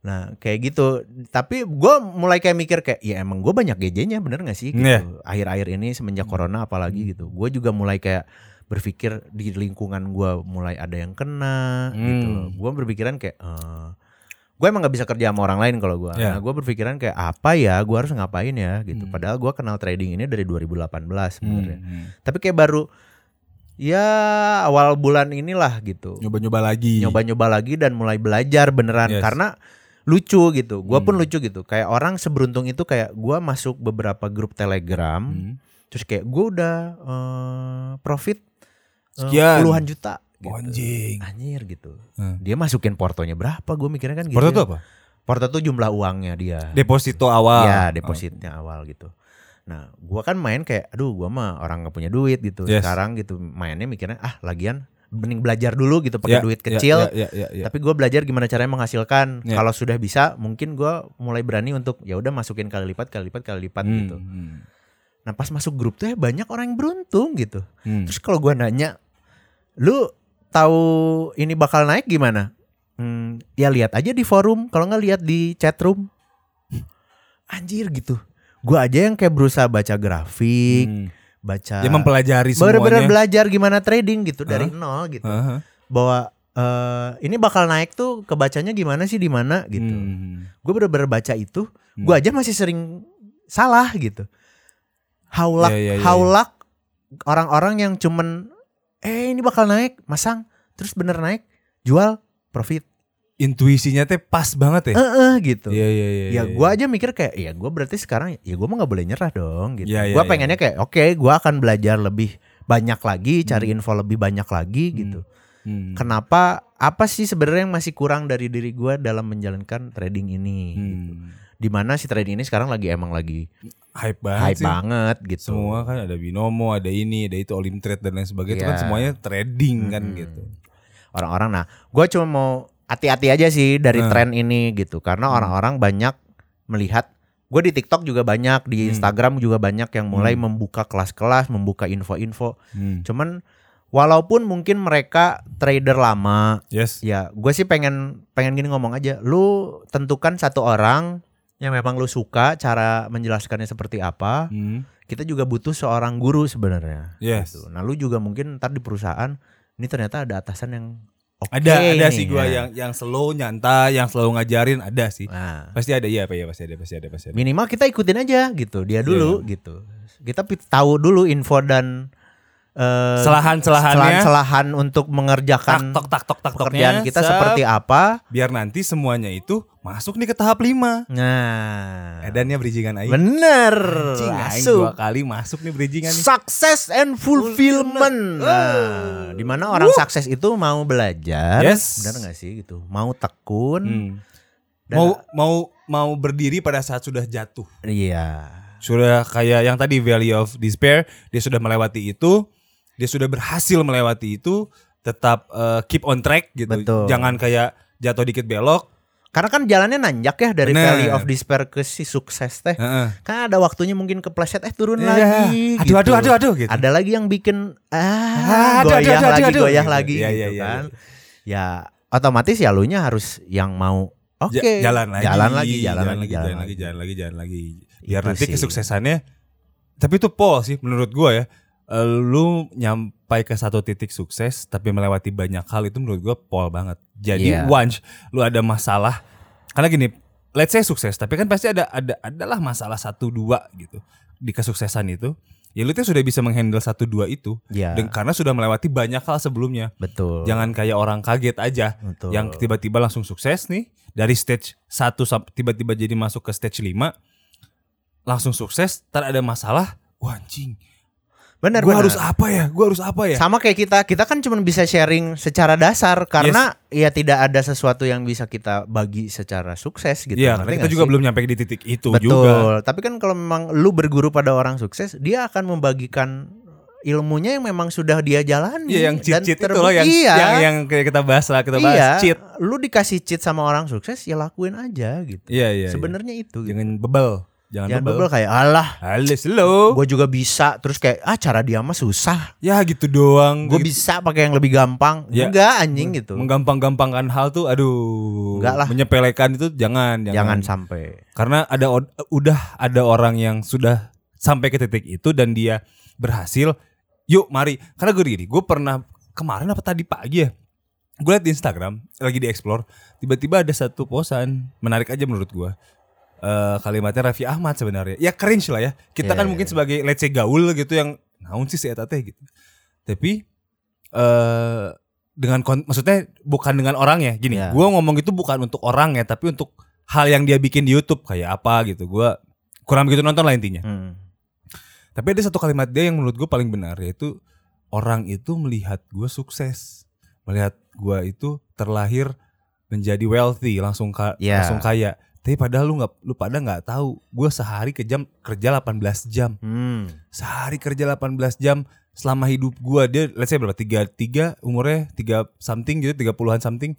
nah kayak gitu tapi gua mulai kayak mikir kayak ya emang gua banyak gejenya bener gak sih gitu Iya. Hmm. akhir-akhir ini semenjak corona apalagi gitu gua juga mulai kayak berpikir di lingkungan gua mulai ada yang kena gitu Hmm. loh gue berpikiran kayak eh gue emang nggak bisa kerja sama orang lain kalau gue Ya. nah gue berpikiran kayak apa ya gue harus ngapain ya gitu Hmm. padahal gue kenal trading ini dari 2018 sebenarnya Hmm. tapi kayak baru ya awal bulan inilah gitu Nyoba-nyoba lagi. nyoba-nyoba lagi dan mulai belajar beneran iya. Yes. karena lucu gitu gue pun Hmm. lucu gitu kayak orang seberuntung itu kayak gue masuk beberapa grup telegram Hmm. terus kayak gue udah eh, profit eh, Sekian. Oh, puluhan juta gitu. Anjing. anjir gitu Hmm. dia masukin portonya berapa gue mikirnya kan gitu Porto ya. tuh apa? Porto tuh jumlah uangnya dia. Deposito awal. Ya depositnya Ya, awal gitu. Nah, gua kan main kayak aduh gua mah orang nggak punya duit gitu. Yes. Sekarang gitu mainnya mikirnya ah lagian mending belajar dulu gitu pakai Ya, duit ya, kecil. ya, ya, ya, ya. Tapi gua belajar gimana caranya menghasilkan. Ya. Kalau sudah bisa, mungkin gua mulai berani untuk ya udah masukin kali lipat, kali lipat, kali lipat Hmm, gitu. hmm, Nah, pas masuk grup tuh ya banyak orang yang beruntung gitu. hmm. Terus kalau gua nanya, "Lu tahu ini bakal naik gimana?" Hmm, ya lihat aja di forum, kalau nggak lihat di chatroom. Anjir gitu. Gua aja yang kayak berusaha baca grafik, Hmm. baca Dia mempelajari semuanya. bener-bener belajar gimana trading gitu Hah? dari nol gitu. Aha. Bahwa eh, ini bakal naik tuh kebacanya gimana sih di mana gitu. Hmm. Gue bener-bener baca itu, Hmm. gue aja masih sering salah gitu. Haulak, Ya, ya, ya, haulak orang-orang yang cuman eh ini bakal naik, masang, terus bener naik, jual, profit. Intuisinya teh pas banget ya. Eh eh, gitu. Iya iya iya. Ya gue aja mikir kayak ya gue berarti sekarang ya gue mah nggak boleh nyerah dong gitu. Ya, ya, gue ya. pengennya kayak oke gue akan belajar lebih banyak lagi, cari info lebih banyak lagi Hmm. gitu. Hmm. Kenapa? Apa sih sebenarnya yang masih kurang dari diri gue dalam menjalankan trading ini? Hmm. Gitu. Dimana si trading ini sekarang lagi emang lagi Hype banget hype sih. banget gitu. Semua kan ada binomo, ada ini, ada itu, olim trade dan lain sebagainya. Itu kan Iya. semuanya trading kan Mm-mm. gitu. Orang-orang. Nah, gue cuma mau hati-hati aja sih dari Hmm. tren ini gitu. Karena Hmm. orang-orang banyak melihat. Gue di TikTok juga banyak, di Hmm. Instagram juga banyak yang mulai Hmm. membuka kelas-kelas, membuka info-info. Hmm. Cuman walaupun mungkin mereka trader lama, Yes. Ya, gue sih pengen pengen gini ngomong aja. Lu tentukan satu orang yang memang lu suka cara menjelaskannya seperti apa. Hmm. Kita juga butuh seorang guru sebenarnya. Yes. Gitu. Nah, lu juga mungkin ntar di perusahaan ini ternyata ada atasan yang oke Ada ada nih, sih gua ya. yang yang slow nyantai, yang selalu ngajarin ada sih. Nah, Pasti ada ya, apa ya pasti ada pasti ada pasti ada. minimal kita ikutin aja gitu dia Iya. dulu gitu. Kita pi- tahu dulu info dan eh, Selahan-selahannya selahan-selahan untuk tak mengerjakan tok tak tok tak pekerjaan kita seperti apa. biar nanti semuanya itu masuk nih ke tahap 5. Nah, Edannya bridgingan aing. Bener. Anjing, aing Asup. dua kali masuk nih bridgingan nih. Success and fulfillment. Fulfillment. Oh. Nah, dimana orang sukses itu mau belajar, Yes. bener nggak sih gitu? Mau tekun, Hmm. Dan- Mau mau mau berdiri pada saat sudah jatuh. iya. Sudah kayak yang tadi Valley of Despair, dia sudah melewati itu, dia sudah berhasil melewati itu, tetap eh, keep on track gitu. Betul. Jangan kayak jatuh dikit belok. Karena kan jalannya nanjak ya dari Bener. Valley of Despair ke si sukses teh. Heeh. Kan ada waktunya mungkin kepleset eh turun Iya. lagi. Aduh, gitu. aduh, aduh, aduh, gitu. Ada lagi yang bikin ah Ah, aduh, aduh, goyah aduh, lagi aduh, goyah gitu. lagi Iya, gitu iya, iya, kan. Ya otomatis ya lu nya harus yang mau oke Ja- jalan lagi. jalan lagi jalan, lagi jalan lagi, jalan lagi, jalan lagi. Biar Itu nanti sih. kesuksesannya tapi itu Paul sih menurut gua ya. Eh, Lu nyampai ke satu titik sukses tapi melewati banyak hal itu menurut gua Paul banget. Jadi Iya. once lu ada masalah karena gini, let's say sukses tapi kan pasti ada ada adalah masalah satu dua gitu di kesuksesan itu. Ya lu tuh sudah bisa menghandle satu dua itu Ya, dan karena sudah melewati banyak hal sebelumnya. betul. Jangan kayak orang kaget aja Betul. yang tiba-tiba langsung sukses nih dari stage 1 sampai tiba-tiba jadi masuk ke stage 5 langsung sukses ntar ada masalah wah anjing benar gua harus apa ya gua harus apa ya sama kayak kita kita kan cuma bisa sharing secara dasar karena ya tidak ada sesuatu yang bisa kita bagi secara sukses gitu. Iya, Ngerti karena kita nggak juga sih? belum nyampe di titik itu betul. juga Tapi kan kalau memang lu berguru pada orang sukses, dia akan membagikan ilmunya yang memang sudah dia jalani Iya yang cheat dan cheat itu terbukti. loh yang, iya, yang yang kayak kita bahas lah kita bahas iya. cheat Lu dikasih cheat sama orang sukses ya lakuin aja gitu. iya iya iya. Sebenarnya itu gitu. jangan bebel jangan, Oh. Jangan bebel, bebel kayak alah halus lo gue juga bisa terus kayak ah cara dia mah susah ya gitu doang gue Gitu. bisa pakai yang lebih gampang Ya. enggak anjing gitu menggampang-gampangkan hal tuh aduh Enggak lah. menyepelekan itu jangan jangan sampai Karena ada od- udah ada orang yang sudah sampai ke titik itu dan dia berhasil. Yuk mari. Karena gue gini, gue pernah kemarin apa tadi pagi ya. Gue liat di Instagram, lagi di explore, tiba-tiba ada satu posan menarik aja menurut gue. Eh kalimatnya Raffi Ahmad sebenarnya. Ya cringe lah ya. Kita Iya, kan iya, mungkin iya. sebagai let's say gaul gitu yang naon sih si eta teh gitu. Tapi eh dengan kon- maksudnya bukan dengan orangnya. Gini, Iya. gue ngomong itu bukan untuk orangnya tapi untuk hal yang dia bikin di YouTube kayak apa gitu. Gua kurang begitu nonton lah intinya. Hmm. Tapi ada satu kalimat dia yang menurut gue paling benar yaitu orang itu melihat gue sukses, melihat gue itu terlahir menjadi wealthy langsung ka- Ya. langsung kaya. Tapi padahal lu nggak lu pada nggak tahu, gue sehari ke jam kerja 18 jam. Hmm. Sehari kerja 18 jam selama hidup gua dia let's say berapa? 33 umurnya 3 something gitu, 30-an something.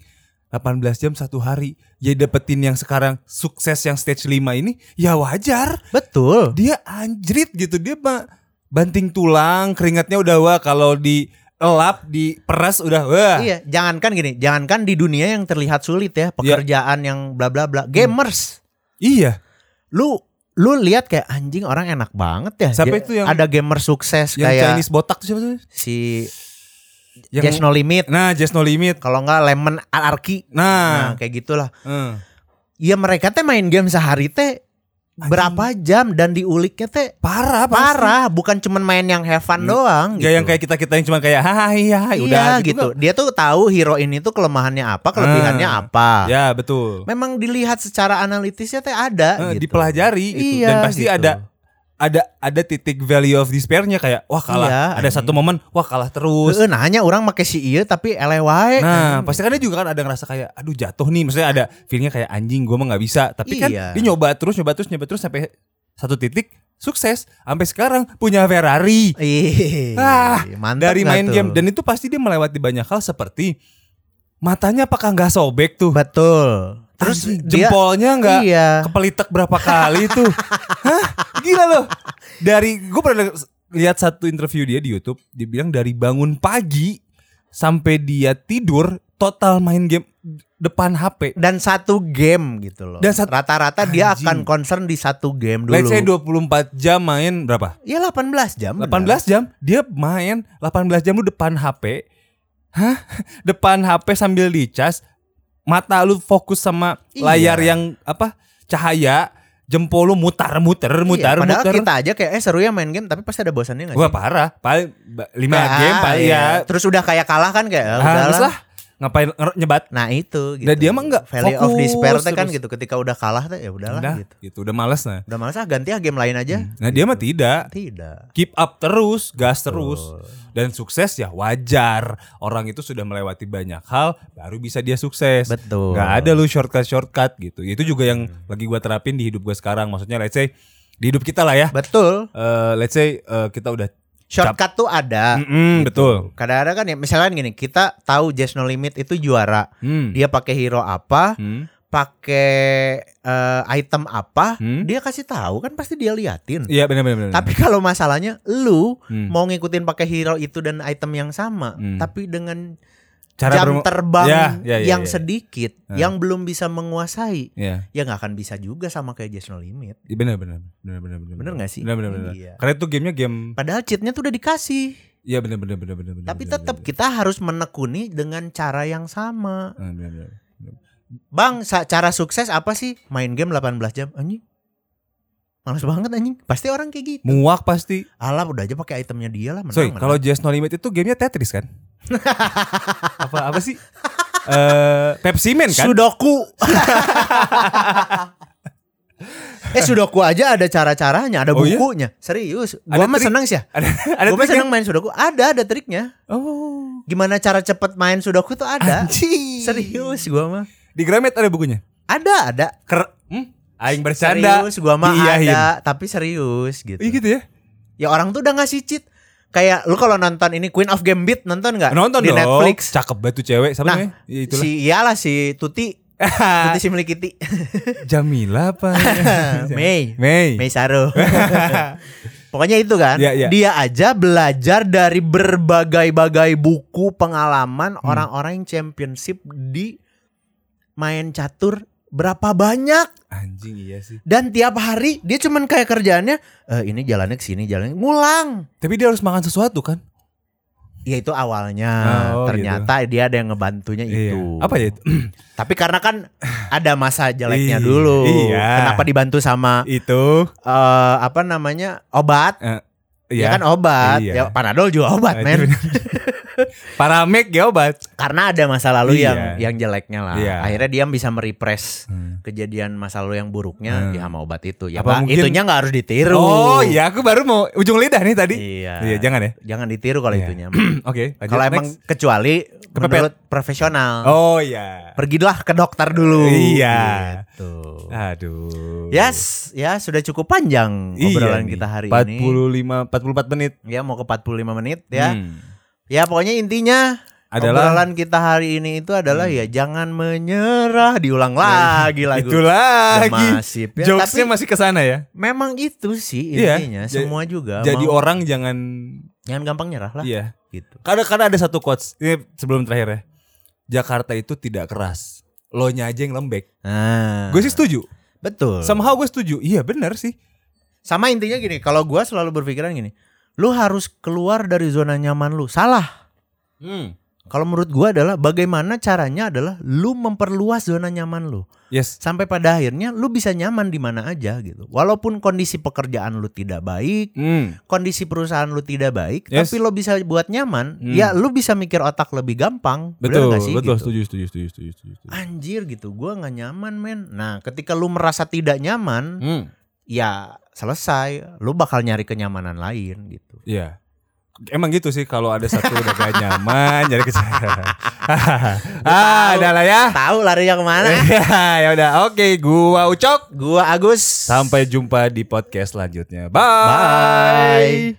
18 jam satu hari. Ya dapetin yang sekarang sukses yang stage 5 ini ya wajar. Betul. Dia anjrit gitu, dia mah banting tulang, keringatnya udah wah kalau di elap, di peras udah wah. Iya, jangankan gini, jangankan di dunia yang terlihat sulit ya, pekerjaan yang bla bla bla, gamers. Iya. Lu lu lihat kayak anjing orang enak banget ya. Siapa Ja- itu yang- ada gamer sukses Yang kayak Chinese botak tuh siapa tuh? si Yang- Just No Limit, Nah, Just No Limit. kalau enggak Lemon Anarchy. Nah, Nah, kayak gitulah. eh. Iya, mereka teh main game sehari teh berapa jam dan diuliknya teh parah pasti. parah, bukan cuman main yang have fun doang gitu. Gak yang kayak kita kita yang cuma kayak hahaha iya, Iya, udah gitu. nggak? Dia tuh tahu hero ini tuh kelemahannya apa, kelebihannya Ah. apa. Ya betul. Memang dilihat secara analitisnya teh ada Eh, gitu. Dipelajari gitu Iya, dan pasti gitu. ada ada ada titik value of despairnya kayak wah kalah. ada Iya, Eh. anjing. satu momen wah kalah terus. Heeh, nanya orang make si iya tapi eleh wae. Nah, pasti kan dia juga kan ada ngerasa kayak aduh jatuh nih, maksudnya ada feelnya kayak anjing gua mah nggak bisa, tapi kan Iya. dia nyoba terus nyoba terus nyoba terus sampai satu titik sukses sampai sekarang punya Ferrari. Ih, Ah, mantap dari nggak main tuh? game dan itu pasti dia melewati banyak hal seperti matanya apakah nggak sobek tuh betul. Terus terus dia- jempolnya nggak Iya. kepelitek berapa kali tuh Hah? gila loh dari gue pernah lihat satu interview dia di YouTube dia bilang dari bangun pagi sampai dia tidur total main game depan HP Dan satu game gitu loh. Dan sat- rata-rata dia Anjing. akan concern di satu game dulu. Let's say 24 jam main berapa? Iya 18 jam. 18 Iya. jam dia main 18 jam lu depan HP. Hah? <laughs> Depan HP sambil dicas, mata lu fokus sama layar Iya. yang apa? cahaya, jempol lu mutar-mutar, mutar-mutar. Iya, padahal kita aja kayak eh seru ya main game tapi pasti ada bosannya gak Wah parah, paling 5 Ya, game paling iya. ya. Terus udah kayak kalah kan kayak ah, Harus udahlah. lah. Ngapain nger- nyebat? Nah itu gitu. Dan dia mah nggak Valley of fokus Despair teh kan terus. gitu ketika udah kalah teh ya udahlah Udah, gitu. gitu. udah males nah. Udah malas ah ganti ah game lain aja. Nah, dia mah tidak. Tidak. Keep up terus, gas terus. Betul. Dan sukses ya wajar. Orang itu sudah melewati banyak hal baru bisa dia sukses. Betul. Hmm. Gak ada lu shortcut-shortcut gitu. Itu juga yang lagi gua terapin di hidup gua sekarang. Maksudnya let's say di hidup kita lah ya. Betul. Eh, let's say eh, kita udah Shortcut tuh Hmm. ada. Mm-mm, betul. Kadang-kadang kan ya misalnya gini, kita tahu Just No Limit itu juara. Hmm. Dia pakai hero apa, Hmm. pakai eh, item apa, Hmm. dia kasih tahu kan pasti dia liatin. Iya benar benar. benar. Tapi kalau masalahnya lu Hmm. mau ngikutin pakai hero itu dan item yang sama, Hmm. tapi dengan cara jam bermu- terbang Ya, ya, ya, yang ya. sedikit, Hmm. yang belum bisa menguasai, Iya. ya nggak akan bisa juga sama kayak Just No Limit. Iya, Benar benar benar benar benar. Bener nggak sih? Benar benar benar. Iya. Karena itu gamenya game Padahal cheatnya tuh udah dikasih, Iya benar benar benar benar benar. tapi benar, tetap benar. kita harus menekuni dengan cara yang sama. Ah, benar, benar. Bang, sa- cara sukses apa sih? Main game 18 jam anjing. Males banget anjing. Pasti orang kayak gitu. Muak pasti. Alah udah aja pakai itemnya dia lah menang. Sorry, menang. kalau Just No Limit itu gamenya Tetris <laughs> kan? apa apa sih? Eh Pepsi Man kan? Sudoku. <laughs> eh Sudoku aja ada cara-caranya, ada Oh iya? bukunya. Serius. Ada Gua mah trik? seneng sih. ya. ada ada ya? Gua mah triknya? seneng main Sudoku. Ada ada triknya. Oh. Gimana cara cepet main Sudoku tuh ada. Anjing. Serius gua mah. Di Gramet ada bukunya. Ada ada. Ker hmm? aing bercanda. Serius gua mah Diiyahin. ada, tapi serius gitu. Iya gitu ya. Ya orang tuh udah ngasih cheat. Kayak lu kalau nonton ini Queen of Gambit nonton nggak? Nonton di dong. Netflix. Cakep banget tuh cewek. Siapa Nah, namanya? Ya, itulah. Ah. Si iyalah si Tuti, Tuti Simlikiti. <laughs> Jamila apa? <laughs> Mei. Mei. Mei <laughs> Saro. Pokoknya itu kan. Iya, iya. Dia aja belajar dari berbagai-bagai buku pengalaman Hmm. orang-orang yang championship di main catur berapa banyak Anjing iya sih. dan tiap hari dia cuman kayak kerjaannya "Eh, ini jalannya ke sini jalannya ngulang. Tapi dia harus makan sesuatu kan? Ya itu awalnya Oh, gitu. ternyata dia ada yang ngebantunya itu. Iya. <clears throat> Apa ya <clears throat> itu? Tapi karena <sighs> kan ada masa jeleknya Iya. dulu. Iya. Kenapa dibantu sama itu. eh, apa namanya? obat Ya kan obat, Iya. Nah, ya panadol juga obat, men. Paramek ya obat. <laughs> karena ada masa lalu Iya. yang yang jeleknya lah. Iya. Akhirnya dia bisa merepress Hmm. kejadian masa lalu yang buruknya Hmm. ya sama obat itu. Ya Apa Pak, mungkin- itunya nggak harus ditiru. Oh iya, aku baru mau ujung lidah nih tadi. Iya. Iya, jangan ya. <clears throat> Jangan ditiru kalau Iya. itunya. Oke, <clears throat> lanjut. kalau emang Next. ya? kecuali Kepepet. menurut profesional. Oh iya. Pergilah ke dokter dulu. Iya. Gitu. Aduh. Iya Yes, ya sudah cukup panjang obrolan nih, kita hari ini. 45 44 menit Ya mau ke 45 menit ya. Hmm. Ya pokoknya intinya Adalah- Hmm. obrolan kita hari ini itu adalah ya jangan menyerah diulang Iya, lagi lagu. Itu lagi. Masif ya, Jokesnya tapi- masih ke sana ya. Memang itu sih Iya, intinya ja- semua juga. Jadi mau- orang jangan jangan gampang nyerah lah iya. gitu. Karena karena ada satu quotes ini sebelum terakhir ya. Jakarta itu tidak keras. Lo nya aja yang lembek. Nah, Gue sih setuju. betul. Sama, Somehow gue setuju. Iya benar sih. intinya gini, kalau gua selalu berpikiran gini, lu harus keluar dari zona nyaman lu. Salah. Hmm. Kalau menurut gua adalah bagaimana caranya adalah lu memperluas zona nyaman lu. Yes. Sampai pada akhirnya lu bisa nyaman di mana aja gitu. Walaupun kondisi pekerjaan lu tidak baik, Hmm. kondisi perusahaan lu tidak baik, Yes. tapi lo bisa buat nyaman, Hmm. ya lu bisa mikir otak lebih gampang. Bener Betul, nggak sih? betul, Gitu. setuju, setuju, setuju, setuju, setuju. setuju. anjir gitu gua nggak nyaman men nah ketika lu merasa tidak nyaman Hmm. ya selesai lu bakal nyari kenyamanan lain gitu Iya. Emang gitu sih kalau ada satu udah gak nyaman jadi <laughs> kesana. ah, udah lah ya. tahu larinya kemana <laughs> ya udah, oke, gua Ucok. gua Agus Sampai jumpa di podcast selanjutnya. Bye. Bye.